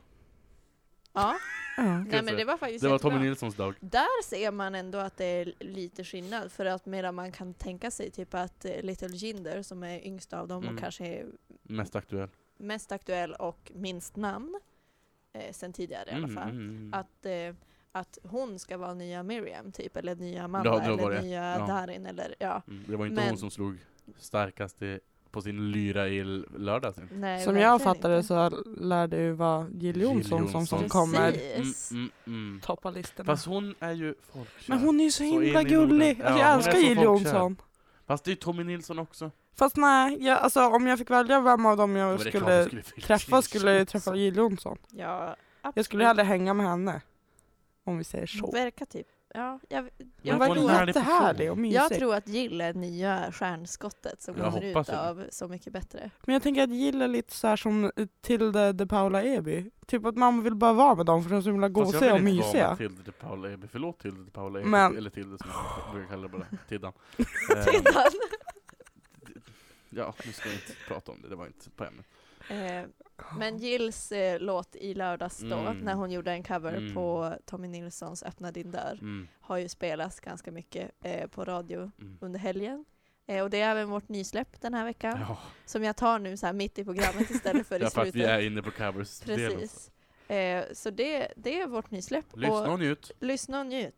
D: Ja.
C: Ja.
D: Nej men det var faktiskt
B: Det var
D: jättebra.
B: Tommy Nilssons dag.
D: Där ser man ändå att det är lite skillnad för att medan man kan tänka sig typ att eh, Little Jinder som är yngst av dem
B: Mm.
D: och kanske är
B: Mest aktuell.
D: mest aktuell och minst namn eh, sen tidigare i alla fall.
B: mm.
D: Att, eh, att hon ska vara nya Miriam typ eller nya Amanda
B: Ja, det var
D: eller
B: det.
D: nya
B: Ja.
D: Darin eller ja.
B: Mm, Det var inte
D: Men-
B: hon som slog starkaste på sin lyra i l- lördags. Mm, inte.
D: Nej,
C: Som jag
D: verkligen
C: fattar det
D: inte.
C: så lär det ju vara Jill Johnson som, som
D: Precis.
C: kommer
B: Mm, mm, mm.
C: toppa listorna.
B: Fast hon är ju folkkär.
C: Men hon är ju så
B: Så in
C: himla
B: i Norden.
C: gullig.
B: Ja,
C: Alltså
B: hon
C: jag
B: är
C: älskar
B: så
C: Jill
B: folkkär.
C: Johnson.
B: Fast det är ju Tommy Nilsson också.
C: Fast nej, jag, alltså om jag fick välja vem av dem
B: Men
C: jag
B: det är klart
C: skulle
B: du fixa
C: träffa
B: Jill
C: skulle jag
B: Johnson.
C: träffa Jill Johnson.
B: mm.
D: Ja,
C: Jag skulle hellre hänga med henne. Om vi säger så.
D: Verkar typ. Ja, jag,
B: Men
D: jag,
C: Hon
B: var
C: verkar
B: en
D: tror,
B: härlig
C: jättehärlig
B: person.
C: och
D: jag
C: mysig.
D: tror att Jill är nya stjärnskottet som
B: Jag
D: kommer
B: hoppas
D: ut
B: det.
D: av Så mycket bättre.
C: Men jag tänker att Jill är lite så här som eh, Tilde de Paula Eby. Typ att mamma vill bara vara med dem för de är så himla
B: Fast jag
C: gosiga och
B: vill inte vara med typ.
C: mysiga.
B: Tilde till Paula Eby. Förlåt Tilde till Paula Eby.
C: Men-
B: Eller Tilde som jag brukar kalla det
D: <laughs>
B: bara. Tiddan. Ehm,
D: Tittan.
B: ja, nu ska vi inte prata om det. Det var inte på ämnet.
D: Eh, Men Jills eh, låt i lördags då,
B: Mm.
D: när hon gjorde en cover
B: Mm.
D: på Tommy Nilssons Öppna din dörr,
B: Mm,
D: har ju spelats ganska mycket eh, på radio
B: mm.
D: under helgen. Eh, och det är även vårt nysläpp den här veckan.
B: Ja,
D: Som jag tar nu så här mitt i programmet istället
B: <laughs>
D: för i
B: därför att
D: slutet.
B: vi är inne på covers-delen.
D: Precis. Eh, så det, det är vårt nysläpp.
B: Lyssna
D: Och,
B: och njut.
D: lyssna och njut.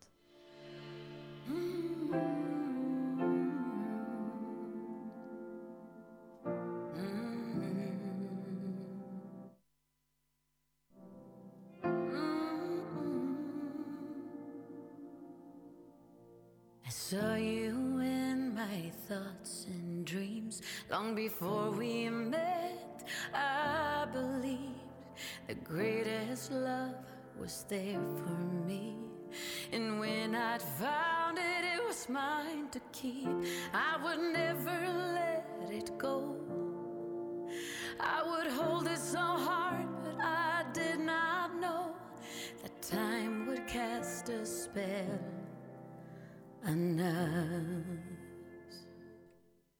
G: I saw you in my thoughts and dreams long before we met. I believed the greatest love was there for me. And when I'd found it, it was mine to keep. I would never let it go. I would hold it so hard, but I did not know that time would cast a spell
F: <laughs>
G: on us.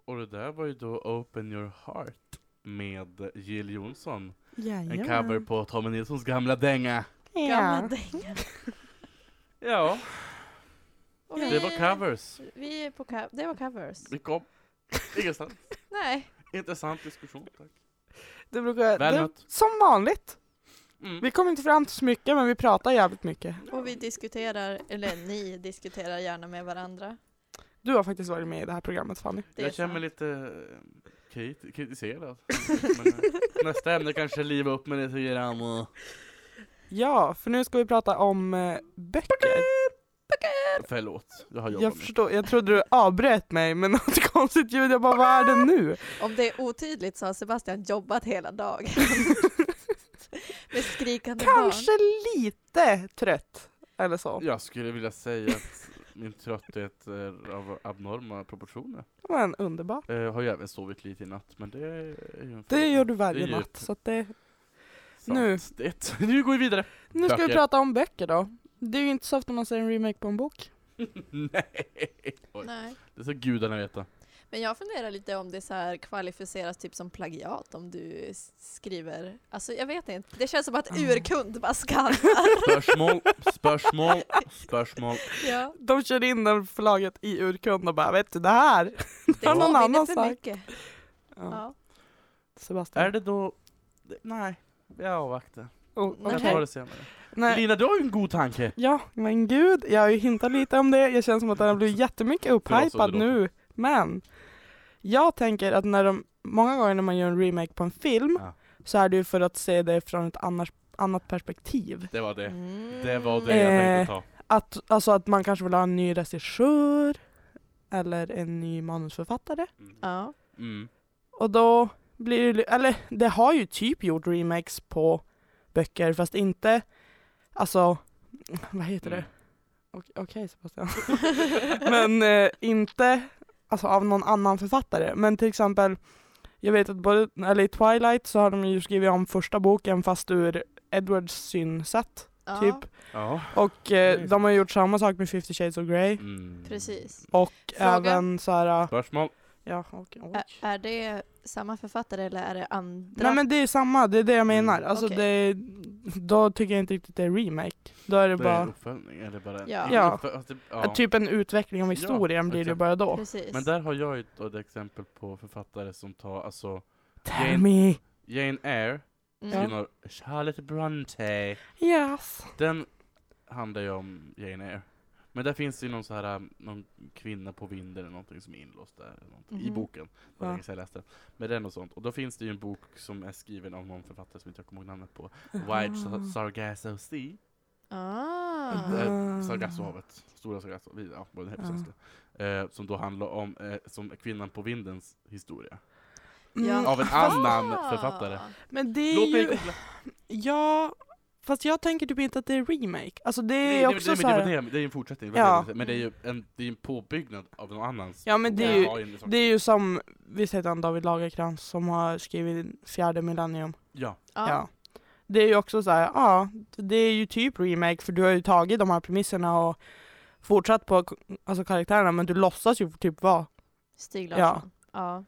B: Och det där var ju då Open Your Heart med Jill Johnson. En
C: Jajamän.
B: cover på Tommy Nilssons gamla dänga.
D: Gamla dänga.
B: Ja,
D: Och
B: det var
D: vi-
B: covers.
D: Vi är på co- det var covers.
B: Vi kom. Ingenstans.
D: Nej.
B: Intressant diskussion, tack.
C: Det brukar,
B: Väl
C: det,
B: mött.
C: som vanligt.
B: Mm.
C: Vi kommer inte fram till så mycket men vi pratar jävligt mycket.
D: Och vi diskuterar, eller ni diskuterar gärna med varandra.
C: Du har faktiskt varit med i det här programmet Fanny.
D: Det är
B: Jag känner mig
D: sant.
B: lite eh, kriti- kritiserad.
D: <laughs>
B: Men, eh, nästa ämne kanske liva upp mig lite grann och...
C: Ja, för nu ska vi prata om eh, böcker.
B: Förlåt, jag har jobbat
C: Jag
B: mycket.
C: förstår, jag trodde du avbröt mig med <laughs> något konstigt ljud. Jag bara, vad är det nu?
D: Om det är otydligt så har Sebastian jobbat
B: <laughs>
D: hela dagen. med skrikande
C: Kanske lite trött. Eller så.
B: Jag skulle vilja säga att min trötthet är av abnorma proportioner.
C: Men underbart.
B: Jag har ju även sovit lite i natt, men det är ju en
C: Det gör du
B: Det är
C: varje
B: ju
C: natt. Så att det,
B: sant.
C: nu.
B: Det. <laughs> Nu går vi vidare.
C: nu ska vi
B: Böcker.
C: prata om böcker då. Det är ju inte så ofta man ser en remake på en bok.
B: Nej!
D: barn.
B: Oj,
D: Nej.
B: det ska gudarna veta.
D: Men jag funderar lite om det så här kvalificeras typ som plagiat om du s- skriver, alltså jag vet inte, det känns som att urkund bara skannar.
B: Mm. <laughs> Spörsmål, spörsmål, spörsmål.
D: <laughs> ja.
C: De kör in den förlaget i urkund och bara, vet du det här?
D: Det
C: Har någon
D: påminner
C: annan
D: för
C: sagt?
D: mycket.
C: Ja.
D: Ja.
C: Sebastian.
B: Är det då... Nej, jag avvaktar.
C: Oh,
D: Nej.
B: Jag
C: okej.
B: tar det senare.
C: Nej.
B: Lina, du har ju en god tanke.
C: Ja, men gud, jag har ju hintat lite om det. Jag känns som att den har blivit jättemycket
B: Förlåt,
C: upphypad
B: Olle Lotto.
C: nu. Men jag tänker att när de, många gånger när man gör en remake på en film
B: Ja.
C: så är det ju för att se det från ett annars, annat perspektiv.
B: Det var det.
D: Mm.
B: Det var det jag tänkte ta.
C: Att, alltså att man kanske vill ha en ny regissör eller en ny manusförfattare.
D: Ja.
B: Mm.
C: Och då blir det, eller det har ju typ gjort remakes på böcker fast inte, alltså, vad heter det?
B: Mm.
C: Ok- Okej Sebastian. <laughs> men eh, inte alltså, av någon annan författare. Men till exempel, jag vet att både, eller i Twilight så har de ju skrivit om första boken fast ur Edwards synsätt.
D: ja.
C: Typ.
B: Ja.
C: Och eh, de har gjort samma sak med 50 shades of Grey.
B: Mm.
D: Precis.
C: Och
D: Fråga.
C: även så här,
B: Spörsmål.
C: ja och, oj.
D: Ä- är det samma författare eller är det andra?
C: Nej men det är samma, det är det jag menar.
B: Mm.
C: Alltså
D: Okej.
C: det, då tycker jag inte riktigt det är remake. Då är det,
B: Det är en
C: bara
B: uppföljning, eller bara en...
D: Ja.
C: Ja.
B: Fast det- alltså,
C: ja.
B: ja.
C: typ en utveckling av
B: Ja,
C: historien blir det
B: exakt.
C: bara då.
D: Precis.
B: Men där har jag ju då ett exempel på författare som tar, alltså
C: Tell
B: Jane-
C: me!
B: Jane Eyre,
D: mm.
B: ja. Charlotte Bronte.
C: Yes!
B: Den handlar ju om Jane Eyre. Men där finns det ju någon så här, um, någon kvinna på vinden eller någonting som är inlåst där, eller någonting, i
D: Mhm.
B: boken. Det var
C: Ja.
B: länge sedan jag läste den. Men den och sånt. Och då finns det ju en bok som är skriven av någon författare som inte jag kommer ihåg namnet på. Wide Sa- Sargasso Sea.
D: Ah.
C: Mhm.
B: Eh,
C: Ah.
B: Sargassohavet. Stora Sargasso, vi- ja, vad det heter på
C: Ja.
B: svenska. Eh, som då handlar om, eh, som kvinnan på vindens historia.
D: Ja.
B: Av en
C: fast,
B: annan
D: Ah.
B: författare.
C: Mm. men det är
B: Låt mig
C: ju,
B: googla.
C: ja, fast jag tänker typ inte att det är remake. Alltså det är
B: Nej, det-
C: också
B: det,
C: så
B: det,
C: här,
B: det, det är ju en fortsättning, det
C: Ja.
B: var det jag ville säga. men det är ju en, det är ju en påbyggnad av någon annans.
C: Ja, men det är
B: Och
C: ju-
B: den har en sak-
C: det är ju som, visst heter han David Lagercrantz som har skrivit Fjärde Millennium?
B: Ja,
D: Ja.
C: Ja. Det är ju också så här, ja, det är ju typ remake för du har ju tagit de här premisserna och fortsatt på k- alltså karaktärerna men du låtsas ju typ vara.
D: Stig
C: Ja.
D: Larsson. Ja.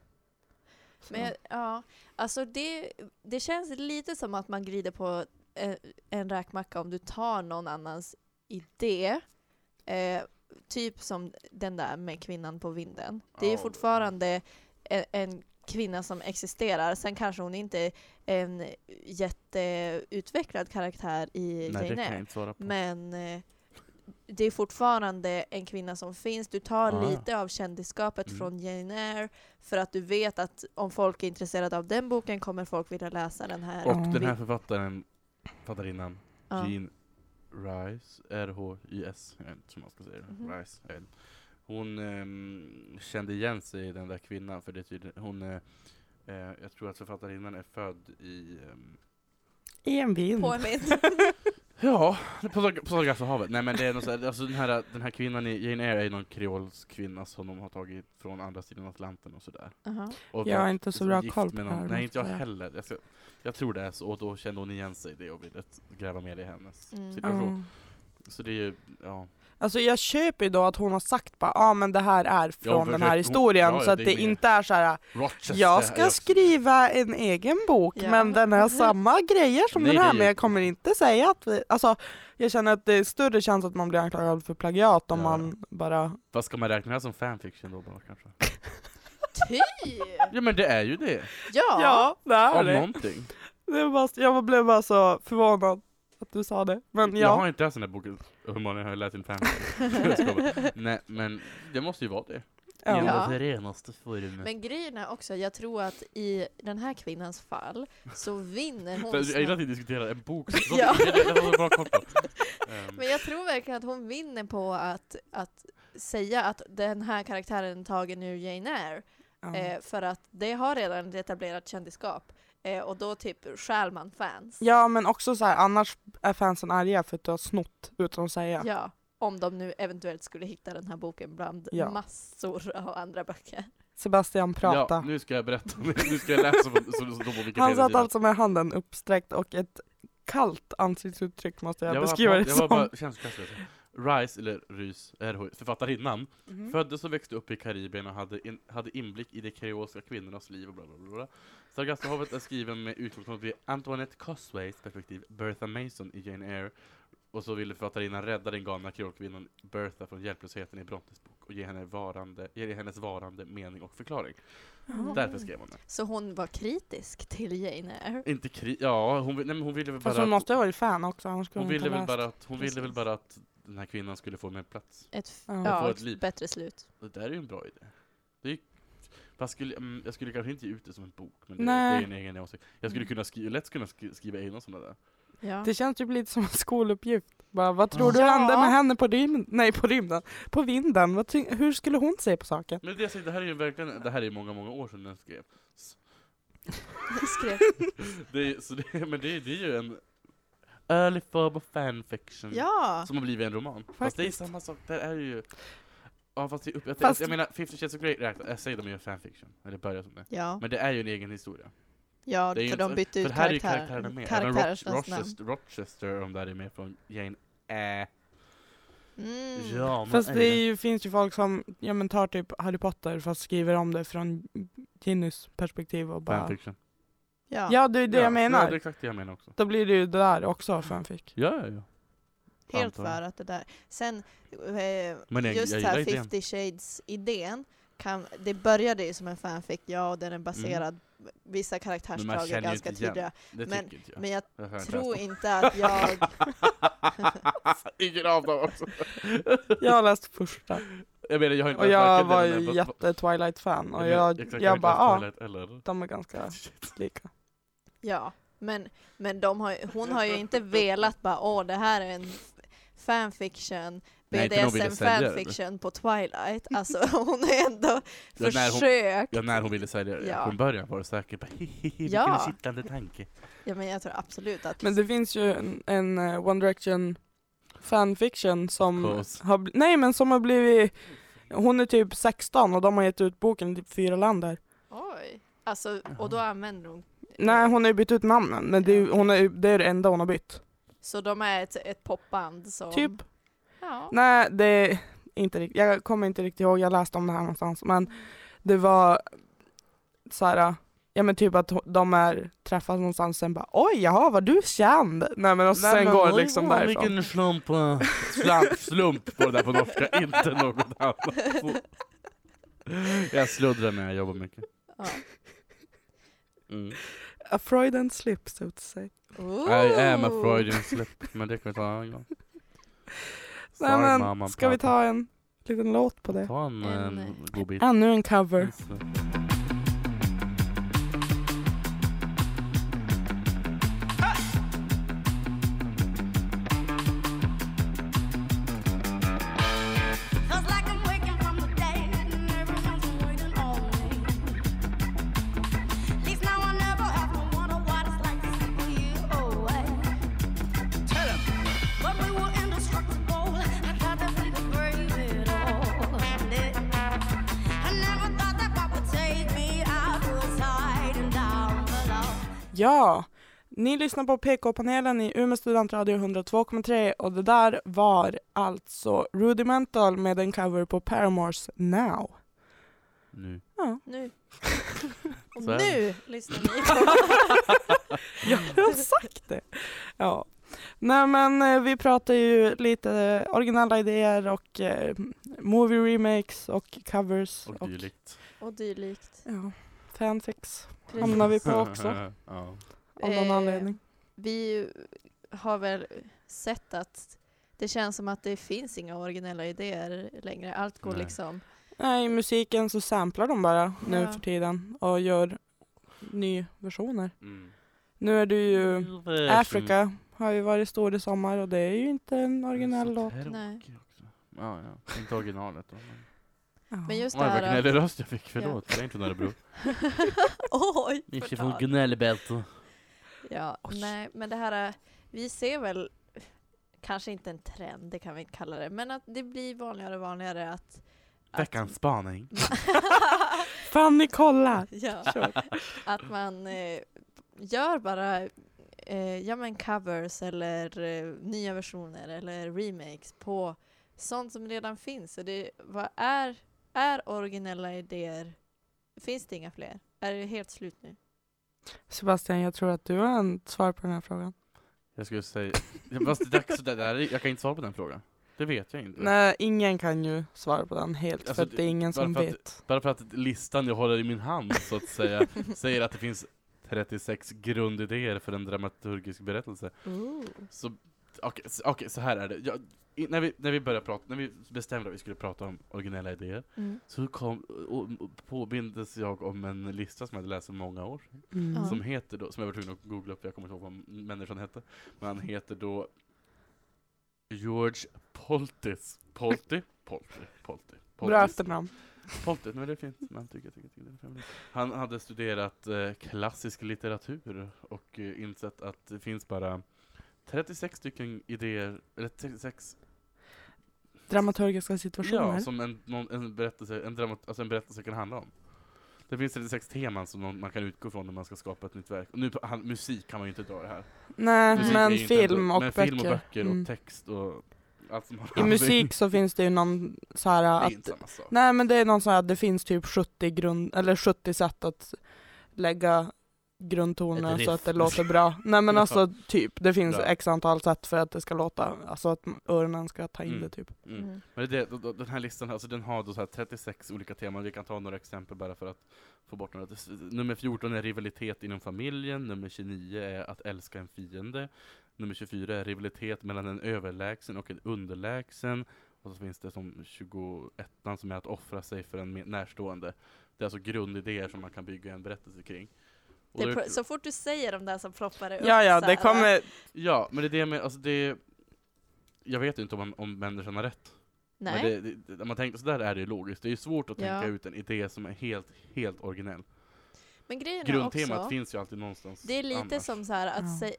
C: så.
D: Men jag- ja, alltså det, det känns lite som att man glider på eh, en räkmacka om du tar någon annans idé eh, typ som den där med kvinnan på vinden. Det är ju
B: Ja,
D: fortfarande en, en kvinna som existerar, sen kanske hon inte är en jätteutvecklad karaktär i
B: Nej, det
D: Jane
B: kan jag
D: Eyre.
B: inte svara på.
D: Men eh, det är fortfarande en kvinna som finns. Du tar
B: Ah.
D: lite av kändisskapet
B: Mm.
D: från Jane Eyre för att du vet att om folk är intresserade av den boken kommer folk vilja läsa den här.
B: Och den här
D: Vi-
B: författaren, författarinnan,
D: Ja.
B: Jean Rice, R-H-Y-S, jag vet inte hur man ska säga det.
D: Mhm.
B: Rice, jag vet inte. Hon ehm, kände igen sig i den där kvinnan, för det är tydligen, hon, eh, eh, jag tror att författarinnan är född i, ehm,
C: I en vind. <laughs>
D: På en bild.
B: ja, på Sarg- på Sargassohavet. Nej men det är något så här, alltså den här, den här kvinnan i Jane Eyre är någon kreolsk kvinna som de har tagit från andra sidan Atlanten och sådär.
D: <laughs> Aha.
B: Och
C: Jag har
B: var
C: inte så
B: liksom
C: bra
B: gift
C: koll på
B: med
C: det här,
B: någon-
C: måste
B: Nej, inte jag
C: jag säga.
B: heller. Jag, ska, jag tror det är så, och då kände hon igen sig i det och ville gräva mer i hennes
D: Mm.
B: situation.
C: Ja.
B: Så det är ju, ja.
C: Alltså jag köper ju då att hon har sagt bara, ja ah, men det här är från
B: för
C: den
B: det-
C: här
B: hon-
C: historien,
B: ja, ja,
C: så att
B: det
C: det,
B: är med.
C: inte är så här.
B: Rochester.
C: jag ska skriva en egen bok,
D: Ja.
C: men den har samma grejer som
B: Nej,
C: den här,
B: det är-
C: men jag kommer inte säga att vi, alltså jag känner att det är större chans att man blir anklagad för plagiat om
B: Ja.
C: man bara
B: Vad ska man räkna det här som fanfiction då bara kanske?
D: Ty!
B: Ja men det är ju det,
D: Ja!
C: Ja, det är
B: av
C: det.
B: någonting.
C: det var bara, jag blev bara så förvånad att du sa det. Men
B: Jag
C: ja,
B: har inte läst den här boken, hur många har jag läst in fanfiction? Jag skojar
C: <laughs>
B: bara. Nej men det måste ju vara det.
C: ja.
D: Ja.
B: renaste formen.
D: Men grejen är också, jag tror att i den här kvinnans fall så vinner
B: För
D: hon
B: Jag gillar att
D: snabbt.
B: vi diskuterar en bok, som-
D: Ja.
B: det, det, det var bra koll på.
D: <laughs>
B: Ehm,
D: Men jag tror verkligen att hon vinner på att, att säga att den här karaktären är tagen ur Jane Eyre.
C: Ja.
D: Eh, för att det har redan ett etablerat kändisskap. Eh, och då typ stjäl man fans.
C: ja men också så här, annars är fansen arga för att du har snott utan att säga.
D: Ja, Om de nu eventuellt skulle hitta den här boken bland
C: Ja.
D: massor av andra böcker.
C: Sebastian prata.
B: Ja, nu ska jag berätta, <laughs> nu ska jag läsa på, så, så, så, på Wikipedia.
C: Han satt alltså med handen uppsträckt och ett kallt ansiktsuttryck måste jag,
B: Jag var
C: beskriva
B: bara-
C: det
B: jag
C: som.
B: var bara känsloklassad. Rice, eller Rys, är författarinnan,
C: Mhm.
B: Föddes och växte upp i Karibien och hade, in, hade inblick i de kreolska kvinnornas liv och bla bla bla. bla. Sargassohavet är skriven med utgångspunkt vid Antoinette Cosways perspektiv, Bertha Mason i Jane Eyre. Och så ville författarinnan rädda den galna kreolkvinnan Bertha från hjälplösheten i Brontes bok och ge, henne varande, ge hennes varande mening och förklaring.
D: Mm.
B: Därför skrev hon det.
D: Så hon var kritisk till Jane Eyre.
B: Inte kri... Ja, hon, vill- nej, men hon ville väl
C: Fast
B: bara...
C: hon måste ha varit fan också, annars skulle
B: hon
C: hon,
B: ville väl
C: inte ha
B: bara
C: läst.
B: att, hon ville väl
D: Precis.
B: bara att den här kvinnan skulle få mer plats.
D: Ett, f-
C: Ja.
D: ja,
B: Få ett
D: ett
B: liv.
D: bättre slut.
B: Det där är ju en bra idé. Det är, fast skulle, mm, jag skulle kanske inte ge ut det som en bok, men det, det
C: Nej.
B: är en egen åsikt. Jag skulle
C: Mm.
B: kunna skri- lätt kunna skri- skriva egna sådana där.
D: Ja.
C: Det känns typ lite som en skoluppgift. Bara, vad tror du
D: Ja.
C: hände med henne på rymden? Nej, på rymden. På vinden. Vad ty- hur skulle hon se på saken?
B: Men det, jag säger, det här är ju verkligen, det här är ju många, många år sedan den skrev.
D: <laughs> Skrev.
B: Det är, så det, men det, är- det är ju en early form of fanfiction
D: Ja!
B: som har blivit en roman. Fast det är
C: Faktiskt.
B: samma sak, där är ju... Ja fast, det är upp, jag,
C: Fast-
B: jag menar, 50 Shades of Grey räknas, jag säger de är ju fanfiction, eller börjar som det.
D: Ja,
B: Men det är ju en egen historia.
D: ja
B: Det är ju
D: för
B: inte-
D: de bytte
B: För
D: ut
B: här är ju
D: karaktär,
B: karaktärerna med. Även
D: karaktärernas
B: Roch- Rochester, Rochester och de där är med från Jane
D: Mm.
B: Eyre.
D: namn. Mm.
B: Ja, men
C: Fast det är
B: det-
C: ju, finns ju folk som ja, men tar typ Harry Potter fast skriver om det från Ginnys perspektiv och bara...
B: Fanfiction.
D: Ja.
C: Ja, det är det
B: Ja, Ja,
C: jag
B: det Mm. är
C: menar.
B: exakt det jag menar också.
C: Då blir det ju det där också fanfic.
B: Ja, ja, ja.
D: helt
B: antar jag.
D: för att det där. Sen, eh,
B: Men jag-
D: just
B: jag
D: så
B: gillar
D: här
B: idén.
D: 50 Shades-idén, kan, det började ju som en fanfic, ja, och den är baserad, vissa
B: Mm. Men man
D: karaktärsdrag
B: känner
D: är
B: ju
D: ganska
B: inte igen.
D: tydliga.
B: Det
D: Men-
B: tycker inte jag.
D: Men jag
B: jag har inte
D: tror
B: läst
D: inte att jag...
B: <laughs> dem. <laughs> Ingen av dem
C: <laughs>
B: också.
C: Jag har läst första.
B: <laughs> Jag menar, jag har inte
C: Och jag
B: varken
C: var
B: den
C: ju
B: eller-
C: jätte-Twilight-fan och
B: menar,
C: jag,
B: exakt,
C: jag,
B: har inte
C: bara, ah.
B: läst
C: ja,
B: Twilight Eller...
C: de
B: <laughs>
C: är ganska lika.
D: Ja, men, men de har, ju- hon har ju inte velat bara åh det här är en fanfiction,
B: Nej, inte någon ville
D: BDSM
B: sälja det.
D: fanfiction på Twilight. Alltså <laughs> hon har ändå
B: Ja, när hon-
D: försökt.
B: Ja, när hon ville sälja det.
D: Ja.
B: Från början var det säkert bara <laughs> hehehe, vilken
D: Ja.
B: kittlande tanke.
D: Ja men jag tror absolut att
C: Men det finns ju en, en eh, One Direction fanfiction som
B: Of course.
C: har, bl- nej men som har blivit, hon är typ 16 och de har gett ut boken i typ fyra länder.
D: Oj. Alltså, och då använder hon
C: Nej hon har ju bytt ut namnen men det är, ju- hon är, ju- det, är det enda hon har bytt.
D: Så de är ett, ett popband som...
C: Typ.
D: Ja.
C: Nej det är inte riktigt, jag kommer inte riktigt ihåg, jag läste om det här någonstans men det var så här. Ja men typ att ho- de är träffas någonstans sen bara oj jaha var du känd? Nej men och
B: Nej,
C: sen
B: men
C: går
B: oj,
C: liksom
B: vad
C: därifrån.
B: Vilken slump, eh, slump, slump på det där på norska, <laughs> inte något annat. Jag sluddrar när jag jobbar mycket.
D: Ja.
B: Mm.
C: A Freudian slip so to say.
B: <laughs> I am a
D: Ooh.
B: Freudian slip, men det kan vi ta en annan gång.
C: Nej
B: Sorry,
C: men
B: mamma,
C: ska vi
B: pappa.
C: ta en liten låt på det?
B: Ta Mm. en,
D: En,
B: en god bit.
C: Ännu en cover.
B: Just det.
F: Feels like I'm waking from the day and everyone's waiting on me. At least now I never ever wonder what it's like to see you away. Tell 'em. When we were indestructible, I thought that we could brave it all. And it- I never thought that what would take me out was hiding down below.
C: Ja, ni lyssnar på PK-panelen i Umeå studentradio 102,3 och det där var alltså Rudimental med en cover på Paramores Now. <laughs>
B: Nu.
D: <laughs> Nu. Och
B: Så är det.
D: nu lyssnar ni.
B: <laughs>
C: Ja, jag har sagt det. Ja. Nej men eh, vi pratar ju lite originella idéer och eh, movie remakes och covers
B: Och dylikt.
D: Och dylikt.
C: ja, fanfics
D: Precis.
B: <laughs>
C: hamnar vi på också
B: ja.
C: av någon
D: Eh,
C: anledning.
D: Vi har väl sett att det känns som att det finns inga originella idéer längre. Allt går
B: Nej.
D: liksom...
C: Nej, i musiken så samplar de bara nu
D: Ja.
C: för tiden och gör nya versioner.
B: Mm.
C: Nu är det ju
B: Silver.
C: Africa har ju varit stor i sommar och det är ju inte en
B: Mm.
C: originell
B: Så
C: låt.
B: tråkig
D: Nej.
B: också. Ja, ja. Inte originalet då. men-
D: Men just det
B: Oj, vad
D: här...
B: gnällig röst jag fick,
D: Ja.
B: förlåt. Det är inte Örebro.
D: <laughs> Oj!
B: Inte
D: förtal.
B: från gnällbältet.
D: Ja, nej, men det här, eh, vi ser väl kanske inte en trend, det kan vi inte kalla det, men att det blir vanligare och vanligare att... att-
B: Veckans spaning.
C: Fanny kollar!
D: <laughs> ja,
B: <laughs>
C: Kör.
D: att man eh, gör bara eh, ja, men covers eller eh, nya versioner eller remakes på sånt som redan finns. Och det, vad är, är originella idéer? Finns det inga fler? Är det helt slut nu?
C: Sebastian, jag tror att du har en svar på den här frågan.
B: Jag skulle säga... <laughs> Ja, Fast det där, så det där, jag kan inte svara på den frågan. Det vet jag inte.
C: Nej, ingen kan ju svara på den helt
B: Alltså,
C: för att det är ingen som
B: bara för att-
C: vet.
B: Bara för att listan jag håller i min hand, så att
D: <laughs>
B: säga, <laughs> säger att det finns 36 grundidéer för en dramaturgisk berättelse. Så, okej, så- okej, så här är det. Jag, i, när, vi, när vi började prata, när vi bestämde att vi skulle prata om originella idéer,
D: Mm.
B: så kom, och, och påmindes jag om en lista som jag hade läst för många år sedan.
C: Mm.
D: Ja.
B: Som heter då, som jag var tvungen att googla upp, jag kommer inte ihåg vad människan hette. Men han heter då George Poltis. Polti? Polti? Polti?
C: Bra
B: Poltis.
C: efternamn.
B: Polti, men det är fint. Men tycker, jag tycker, tycker, det är fint. Han hade studerat eh, klassisk litteratur och eh, insett att det finns bara 36 stycken idéer, eller 36
C: Dramaturgiska
B: Ja,
C: situationer.
B: som en, någon, en, berättelse, en, dramat, alltså en berättelse kan handla om. Det finns 36 teman som någon, man kan utgå från när man ska skapa ett nytt verk. Och nu, på- han, musik kan man ju inte dra i här.
C: Nej,
B: Musik är
C: men
B: ju inte en-
C: film och
B: men
C: böcker.
B: film och böcker och
C: Mm.
B: text och allt som har
C: I
B: handling.
C: musik så finns det ju någon så
B: Det
C: här
B: är
C: att...
B: inte samma sak.
C: Nej, men det är någon så här att det finns typ 70, grund, eller 70 sätt att lägga grundtonen
B: Ett
C: så
B: riff.
C: att det låter bra. Nej
B: <laughs>
C: men
B: Ja.
C: alltså typ, det finns
B: Bra.
C: x antal sätt för att det ska låta, alltså att öronen ska ta in
B: Mm.
C: det typ.
B: Mm. Men det, är det, då- då- den här listan här, alltså den har då så här 36 olika teman, vi kan ta några exempel bara för att få bort några. S- Nummer 14 är rivalitet inom familjen, nummer 29 är att älska en fiende, nummer 24 är rivalitet mellan en överlägsen och en underlägsen, och så finns det som 21 som är att offra sig för en mer- närstående. Det är alltså grundidéer som man kan bygga en berättelse kring. Och
D: Det är
B: då-
D: pro- så fort du säger de där som ploppar det upp
C: Ja ja,
D: så
C: det
D: här,
C: kommer,
B: Ja, men det är det med, alltså det Jag vet ju inte om, om människan har rätt.
D: Nej.
B: Men det, det, när man tänker sådär är det ju logiskt. Det är ju svårt att tänka
D: Ja.
B: ut en idé som är helt, helt originell.
D: Men grejen är
B: Grundtemat
D: också,
B: finns ju alltid någonstans
D: det är lite
B: annars.
D: som så här att,
C: Ja.
D: säg-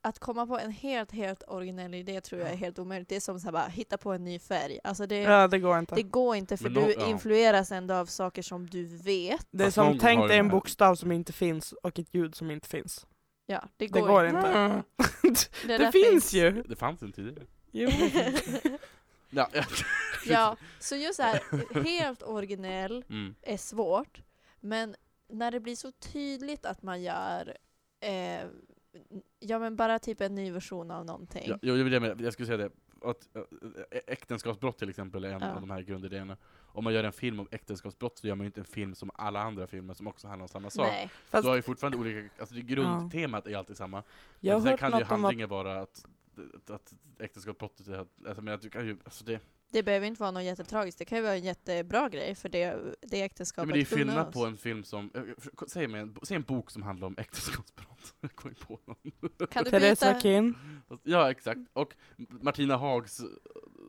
D: att komma på en helt, helt originell idé tror jag är helt omöjligt. Det är som så här bara hitta på en ny färg. Alltså det,
C: ja det går inte.
D: det går inte för
B: Men nå-
D: du
B: ja.
D: influeras ändå av saker som du vet.
C: Det är
B: Fast
C: som,
B: någon
C: tänk
B: har
C: dig
B: ju-
C: en bokstav som inte finns och ett ljud som inte finns.
D: Ja, det
C: Det
D: går,
C: går inte.
D: Det, där
C: Det finns ju!
B: Det fanns inte tidigare.
C: Jo.
B: <laughs> Ja.
D: Ja, så just så här, helt originell
B: Mm.
D: är svårt, men när det blir så tydligt att man gör eh, ja men bara typ en ny version av någonting.
B: Ja, jo, det vill jag, med. jag skulle säga det. Att, äh, äktenskapsbrott till exempel är en
D: Ja.
B: av de här grundidéerna. Om man gör en film om äktenskapsbrott så gör man ju inte en film som alla andra filmer som också handlar om samma sak.
D: Nej.
C: Fast
B: Du har ju fortfarande olika, alltså det grundtemat är alltid samma.
C: jag har
B: Sen
C: hört
B: kan ju
C: något om att
B: handlingen vara att, att, att äktenskapsbrottet är att, alltså, men att du kan ju, alltså det,
D: Det behöver inte vara något jättetragiskt, det kan ju vara en jättebra grej för det, det
B: ja,
D: äktenskapet
B: men det är ju
D: gynnar
B: skillnad
D: oss.
B: på en film som, eh, för- säg, mig en, säg en bok som handlar om äktenskapsbrott. <laughs> Jag kom ju på någon.
D: Kan du
C: Teresa
D: byta?
C: Kin,
B: <laughs> Ja, exakt. Och Martina Hags, eh,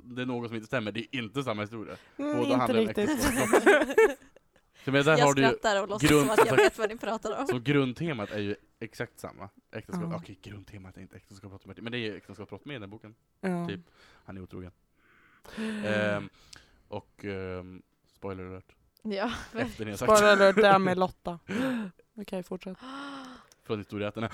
B: det är något som inte stämmer, det är inte samma historia.
C: mm,
B: Båda
C: inte
B: handlar om
C: riktigt. <laughs>
B: äktenskapsbrott. Så, men där har
D: Jag
B: du ju,
D: skrattar och låtsas
B: grund-
D: som att jag
B: alltså-
D: vet vad ni pratar om.
B: Så grundtemat är ju exakt samma. Äktenskap,
C: Ja.
B: Okej, grundtemat är inte äktenskapsbrott, men det är ju äktenskapsbrott med i den boken.
C: Ja.
B: typ. Han är otrogen. <laughs>
C: Mm.
B: Ehm, och, ehm, spoiler alert,
D: <laughs> Ja, men-
B: efter ni har sagt
C: Bara alert
B: <laughs>
C: där med Lotta. Okej, fortsätt.
B: från historieätarna.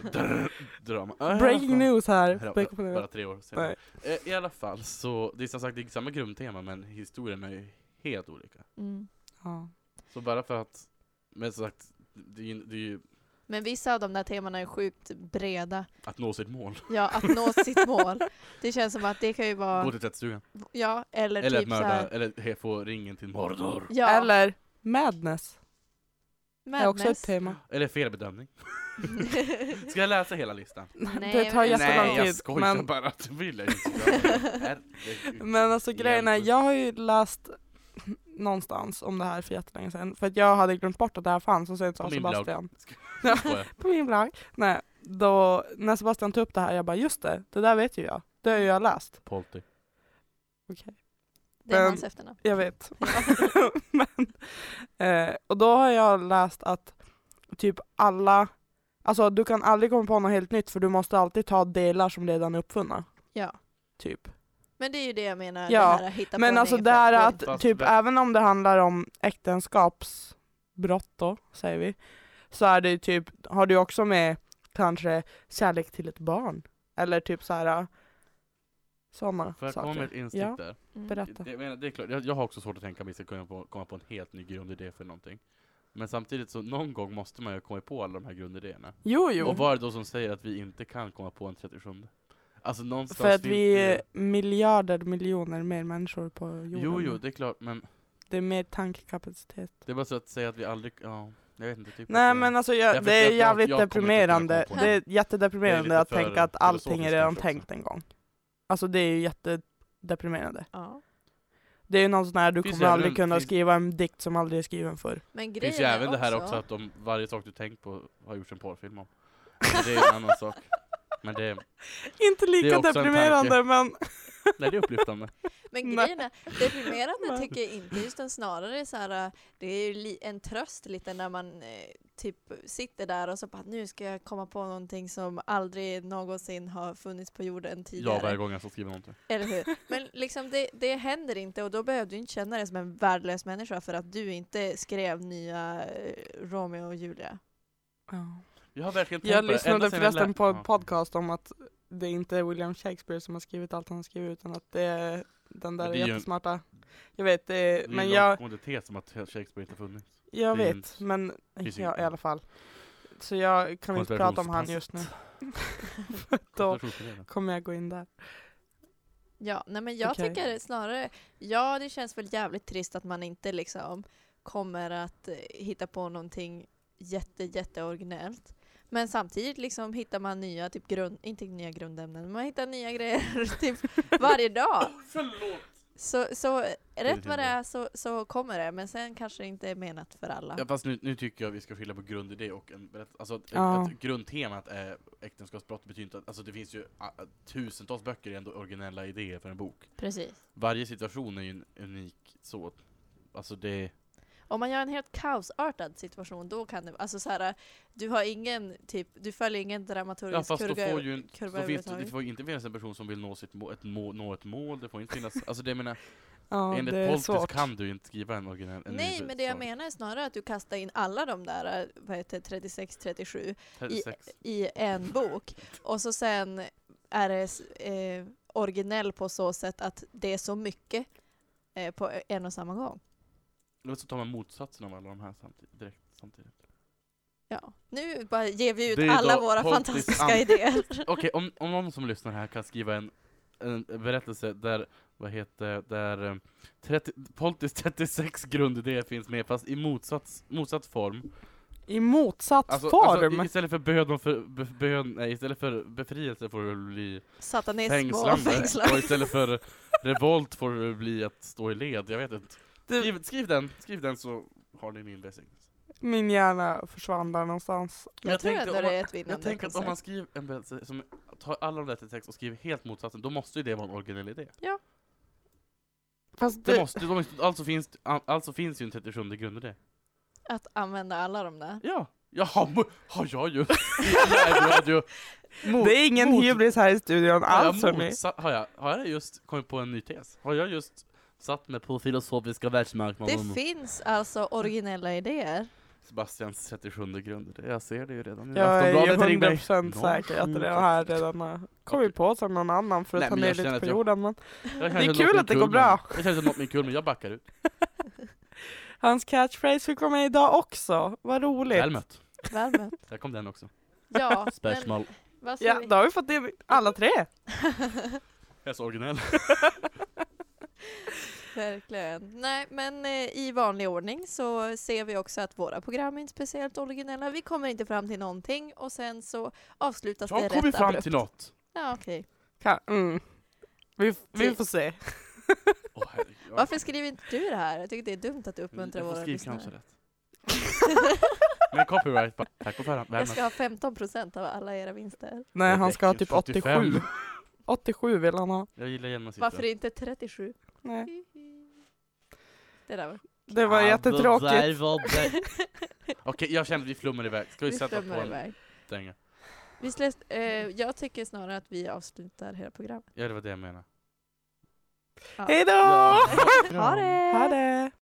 B: <gasps> Drama. Ah,
C: Breaking
B: ja,
C: news här.
B: Här har-
C: Breaking news.
B: Bara tre år senare. Eh, I alla fall, så det är som sagt det är samma grundtema, men historien är ju helt olika.
D: <laughs> mm.
C: Ja.
B: Så bara för att, men som sagt, det är ju, det är ju
D: Men vissa av de där temana är sjukt breda.
B: att nå sitt mål.
D: Ja, att nå sitt mål. Det känns som att det kan ju
B: Gå
D: vara...
B: till tvättstugan.
D: Ja, eller,
B: Eller att
D: typ så här-
B: mörda, eller he- få ringen till Mordor.
D: Ja,
C: Eller Madness. Är också ett
D: madness. <laughs>
C: tema.
B: Eller fel bedömning. Ska jag läsa hela listan?
D: Nej,
C: det tar
D: men-
C: jättelång
B: Nej,
C: tid.
B: jag skojar
C: typ, men,
B: bara. Det vill jag
C: <laughs>
B: inte. Herregud.
C: men alltså grejen är,
B: Egentligen.
C: jag har ju läst någonstans om det här för jättelänge sedan. För att jag hade glömt bort att det här fanns och sen sa
B: På min blogg.
C: Sebastian. <laughs>
B: Skojar.
C: På min blogg. Nej, då, när Sebastian tog upp det här, jag bara just det, det där vet ju jag. Det har ju jag läst.
B: Polty.
C: Okej.
D: Det är
C: Men-
D: hans efternamn.
C: Jag vet. <laughs> Men, eh, och då har jag läst att typ alla, alltså du kan aldrig komma på något helt nytt för du måste alltid ta delar som redan är uppfunna.
D: <laughs> Ja.
C: Typ.
D: Men det är ju det jag
C: Ja,
D: menar, det här att hitta
C: Men
D: på
C: alltså
D: en
C: det
D: egen
C: här
D: fält.
C: att
B: Fast
C: typ
B: det-
C: även om det handlar om äktenskapsbrott då, säger vi, så är det ju typ, har du också med kanske kärlek till ett barn? Eller typ så här sådana
B: Får jag komma med ett
C: saker.
B: instick
C: Ja.
B: där?
D: Mm.
C: Berätta.
B: Jag, menar, det är klart, jag, jag har också svårt att tänka mig att jag ska kunna på, komma på en helt ny grundidé för någonting. Men samtidigt så någon gång måste man ju komma på alla de här grundidéerna.
C: Jo, jo.
B: Och vad är det då som säger att vi inte kan komma på en 37? Alltså någonstans
C: För att
B: finns
C: vi
B: det
C: är
B: ju-
C: miljarder, miljoner mer människor på jorden.
B: Jo, jo, det är klart, men
C: Det är mer tankekapacitet.
B: det är bara så att säga att vi aldrig, ja, jag vet inte. Typ
C: Nej
B: att-
C: men alltså
B: Jag
C: jag,
B: vet
C: det är
B: att jag-
C: jävligt
B: jag kommer inte kunna
C: deprimerande.
B: komma på
C: Det är
B: något. Det
C: jättedeprimerande
B: är
C: att
B: lite för
C: tänka att allting är
B: filosofiskt
C: redan
B: kanske också.
C: tänkt en gång. Alltså det är ju jättedeprimerande.
D: Ja.
C: Det är ju någon sån här, du
B: Finns
C: kommer
B: det
C: aldrig
B: även-
C: kunna
B: finns-
C: skriva en dikt som aldrig är skriven förr.
D: Men
B: Det
D: grejen
B: finns ju även
D: är
B: det här också att de, varje sak du tänkt på har gjorts en porrfilm om. Men det är en annan sak. Men det,
C: Inte lika
B: också en
C: deprimerande men...
B: nej, det är upplyftande.
D: <laughs> Men
C: Nej.
D: grejen är, deprimerande
C: Nej.
D: tycker jag inte just den snarare så här, äh, det är ju li- en tröst lite när man eh, typ sitter där och så bara nu ska jag komma på någonting som aldrig någonsin har funnits på jorden
B: Ja,
D: tidigare.
B: varje gång jag ska skriva någonting.
D: Eller <laughs> hur? Men liksom det, det händer inte och då behöver du inte känna dig som en värdelös människa för att du inte skrev nya eh, Romeo och Julia.
B: Jag har verkligen tänkt
C: Jag
B: på det.
C: lyssnade
B: Ända sedan jag
C: förresten
B: lä-
C: på
B: Ja.
C: en podcast om att det inte är William Shakespeare som har skrivit allt han har skrivit utan att det är
B: Men
C: den där
B: det är ju-
C: jättesmarta. Jag vet, det
B: Det
C: är,
B: är
C: men
B: men
C: jag...
B: en tes om att Shakespeare inte funnits.
C: Jag
B: Det är
C: vet,
B: en
C: men
B: fysik.
C: ja, i alla fall. Så jag kan inte prata om
B: <laughs>
C: han just nu. <laughs> För Då
B: Konspirationsteorin.
C: kommer jag gå in där.
D: Ja, nej men jag
C: Okej.
D: tycker snarare, ja det känns väl jävligt trist att man inte liksom kommer att eh, hitta på någonting jätte, jätte originellt. Men samtidigt liksom hittar man nya, typ grund, inte nya grundämnen, men man hittar nya grejer <laughs> typ varje dag. Så, så eh, rätt vad det är så, så kommer det, men sen kanske det inte är menat för alla.
B: Ja, fast nu, nu tycker jag vi ska skilja på grundidé och en berättelse. Alltså, att,
C: Ja.
B: att grundtemat är äktenskapsbrott betyder inte att, alltså det finns ju ah, ah, tusentals böcker är ändå originella idéer för en bok.
D: Precis.
B: Varje situation är ju en unik så. Alltså det,
D: Om man gör en helt kaosartad situation, då kan det, alltså så här, du har ingen, typ, du följer ingen dramaturgisk
B: ja fast då
D: kurva.
B: får ju en,
D: kurva
B: då finns, det- det
D: överhuvudtaget.
B: får ju inte finnas en person som vill nå sitt mål, ett mål, nå ett mål, det får inte finnas, alltså det jag menar,
C: Ja, det
B: enligt
C: är
B: Poltis
C: svårt.
B: kan du ju inte skriva en originell en
D: Nej,
B: ny
D: men det jag
B: sak.
D: menar är snarare att du kastar in alla de där, eh, vad heter det, 36, 37
B: 36.
D: i en bok och så sen är det s- eh, originell på så sätt att det är så mycket eh, på en och samma gång.
B: Eller så tar man motsatsen av alla de här samtidigt, direkt samtidigt.
D: Ja. Nu bara ger vi ut
B: Det är
D: alla
B: då
D: våra
B: Pontus
D: fantastiska
B: Am- <laughs>
D: idéer.
B: Okej, om, om någon som lyssnar här kan skriva en, en berättelse där, vad heter där eh, 30, Pontus 36 grundidéer finns med fast i motsats, motsatt form.
C: I motsatt
B: Alltså,
C: form.
B: alltså, istället för bön, och för, be, bön nej, istället för befrielse får det bli
D: Satanism och
B: fängslande. Och
D: fängslande.
B: istället för revolt får det bli att stå i led, jag vet inte.
C: du,
B: Skriv, skriv den, skriv den så har ni min välsignelse.
C: min hjärna försvann där någonstans.
D: Jag,
B: Jag
D: tror
B: tänkte
D: ändå
B: om
D: det
B: man-
D: är ett vinnande
B: Jag tänker att om man
D: koncept.
B: skriver en berättelse som tar alla de där till text och skriver helt motsatsen, då måste ju det vara en originell idé.
C: Fast
B: Det
C: du,
B: måste, de måste, alltså, finns, alltså finns ju en 37 grundidé.
D: Att använda alla de där.
B: Ja! Jaha, mo- har jag
C: <laughs>
B: ju! Jag är ju mot,
C: det är ingen
B: mot-
C: hybris här i studion
B: har jag
C: alls hörni.
B: motsa- har, jag, har jag just kommit på en ny tes? Har jag just satt mig på filosofiska
D: Det
B: världsmarknaden?
D: finns alltså originella idéer.
B: Sebastians 37 grundidé, jag ser det ju redan nu.
C: Jag är ju
B: Aftonbladet Mm, ringde mig.
C: 100% säker att det här redan har kommit på som någon annan för
B: Nej,
C: att han
B: men
C: är
B: jag känner
C: lite
B: att
C: på
B: jag-
C: jorden. Men
B: Jag kanske
C: kul
B: nått min
C: att det går
B: kulmen.
C: bra.
B: Jag känner något min kul, men jag backar ut.
C: hans catchphrase fick komma idag också. Vad roligt.
B: Väl mött.
D: Värmen.
B: Där kom den också.
D: <laughs> Ja,
C: <laughs>
D: men
B: Spörsmål.
D: vad ska
C: Ja,
D: vi...
C: då har vi fått det alla tre.
B: Jag är så originell.
D: <laughs> Verkligen. Nej, men eh, i vanlig ordning så ser vi också att våra program är inte speciellt originella. Vi kommer inte fram till någonting och sen så avslutas det
B: Jag
D: rätt
B: kom ju fram
D: abrupt.
B: till något!
D: Ja, okej.
C: Ka- Mm. Vi, vi får se.
B: Åh, herregud. Jag-
D: Varför skriver inte du det här? Jag tycker det är dumt att uppmuntra
B: jag får
D: våra
B: skriva kanske
D: lyssnare.
B: rätt. <laughs> Men copyright, bara, tack på förhand.
D: Jag ska ha 15 procent av alla era vinster.
C: Nej,
B: Det
C: han ska ha
B: räcker,
C: typ 87.
B: 75.
C: 87 vill han ha.
B: Jag gillar jämna
D: Varför
B: siffror.
D: inte 37?
C: Nej.
D: Det där var...
C: Det var
B: Ja, det
C: jättetråkigt.
B: där var
D: <laughs>
B: det. Okej, jag känner att vi flummar iväg. Ska vi,
D: Vi
B: sätta på
D: flummar
B: en
D: iväg.
B: dänga?
D: Vi släpps, eh, jag tycker snarare att vi avslutar hela programmet.
B: Ja, det var det jag menade.
D: Ja.
C: Hejdå!
B: Ja.
D: Ha det!
C: Ha det!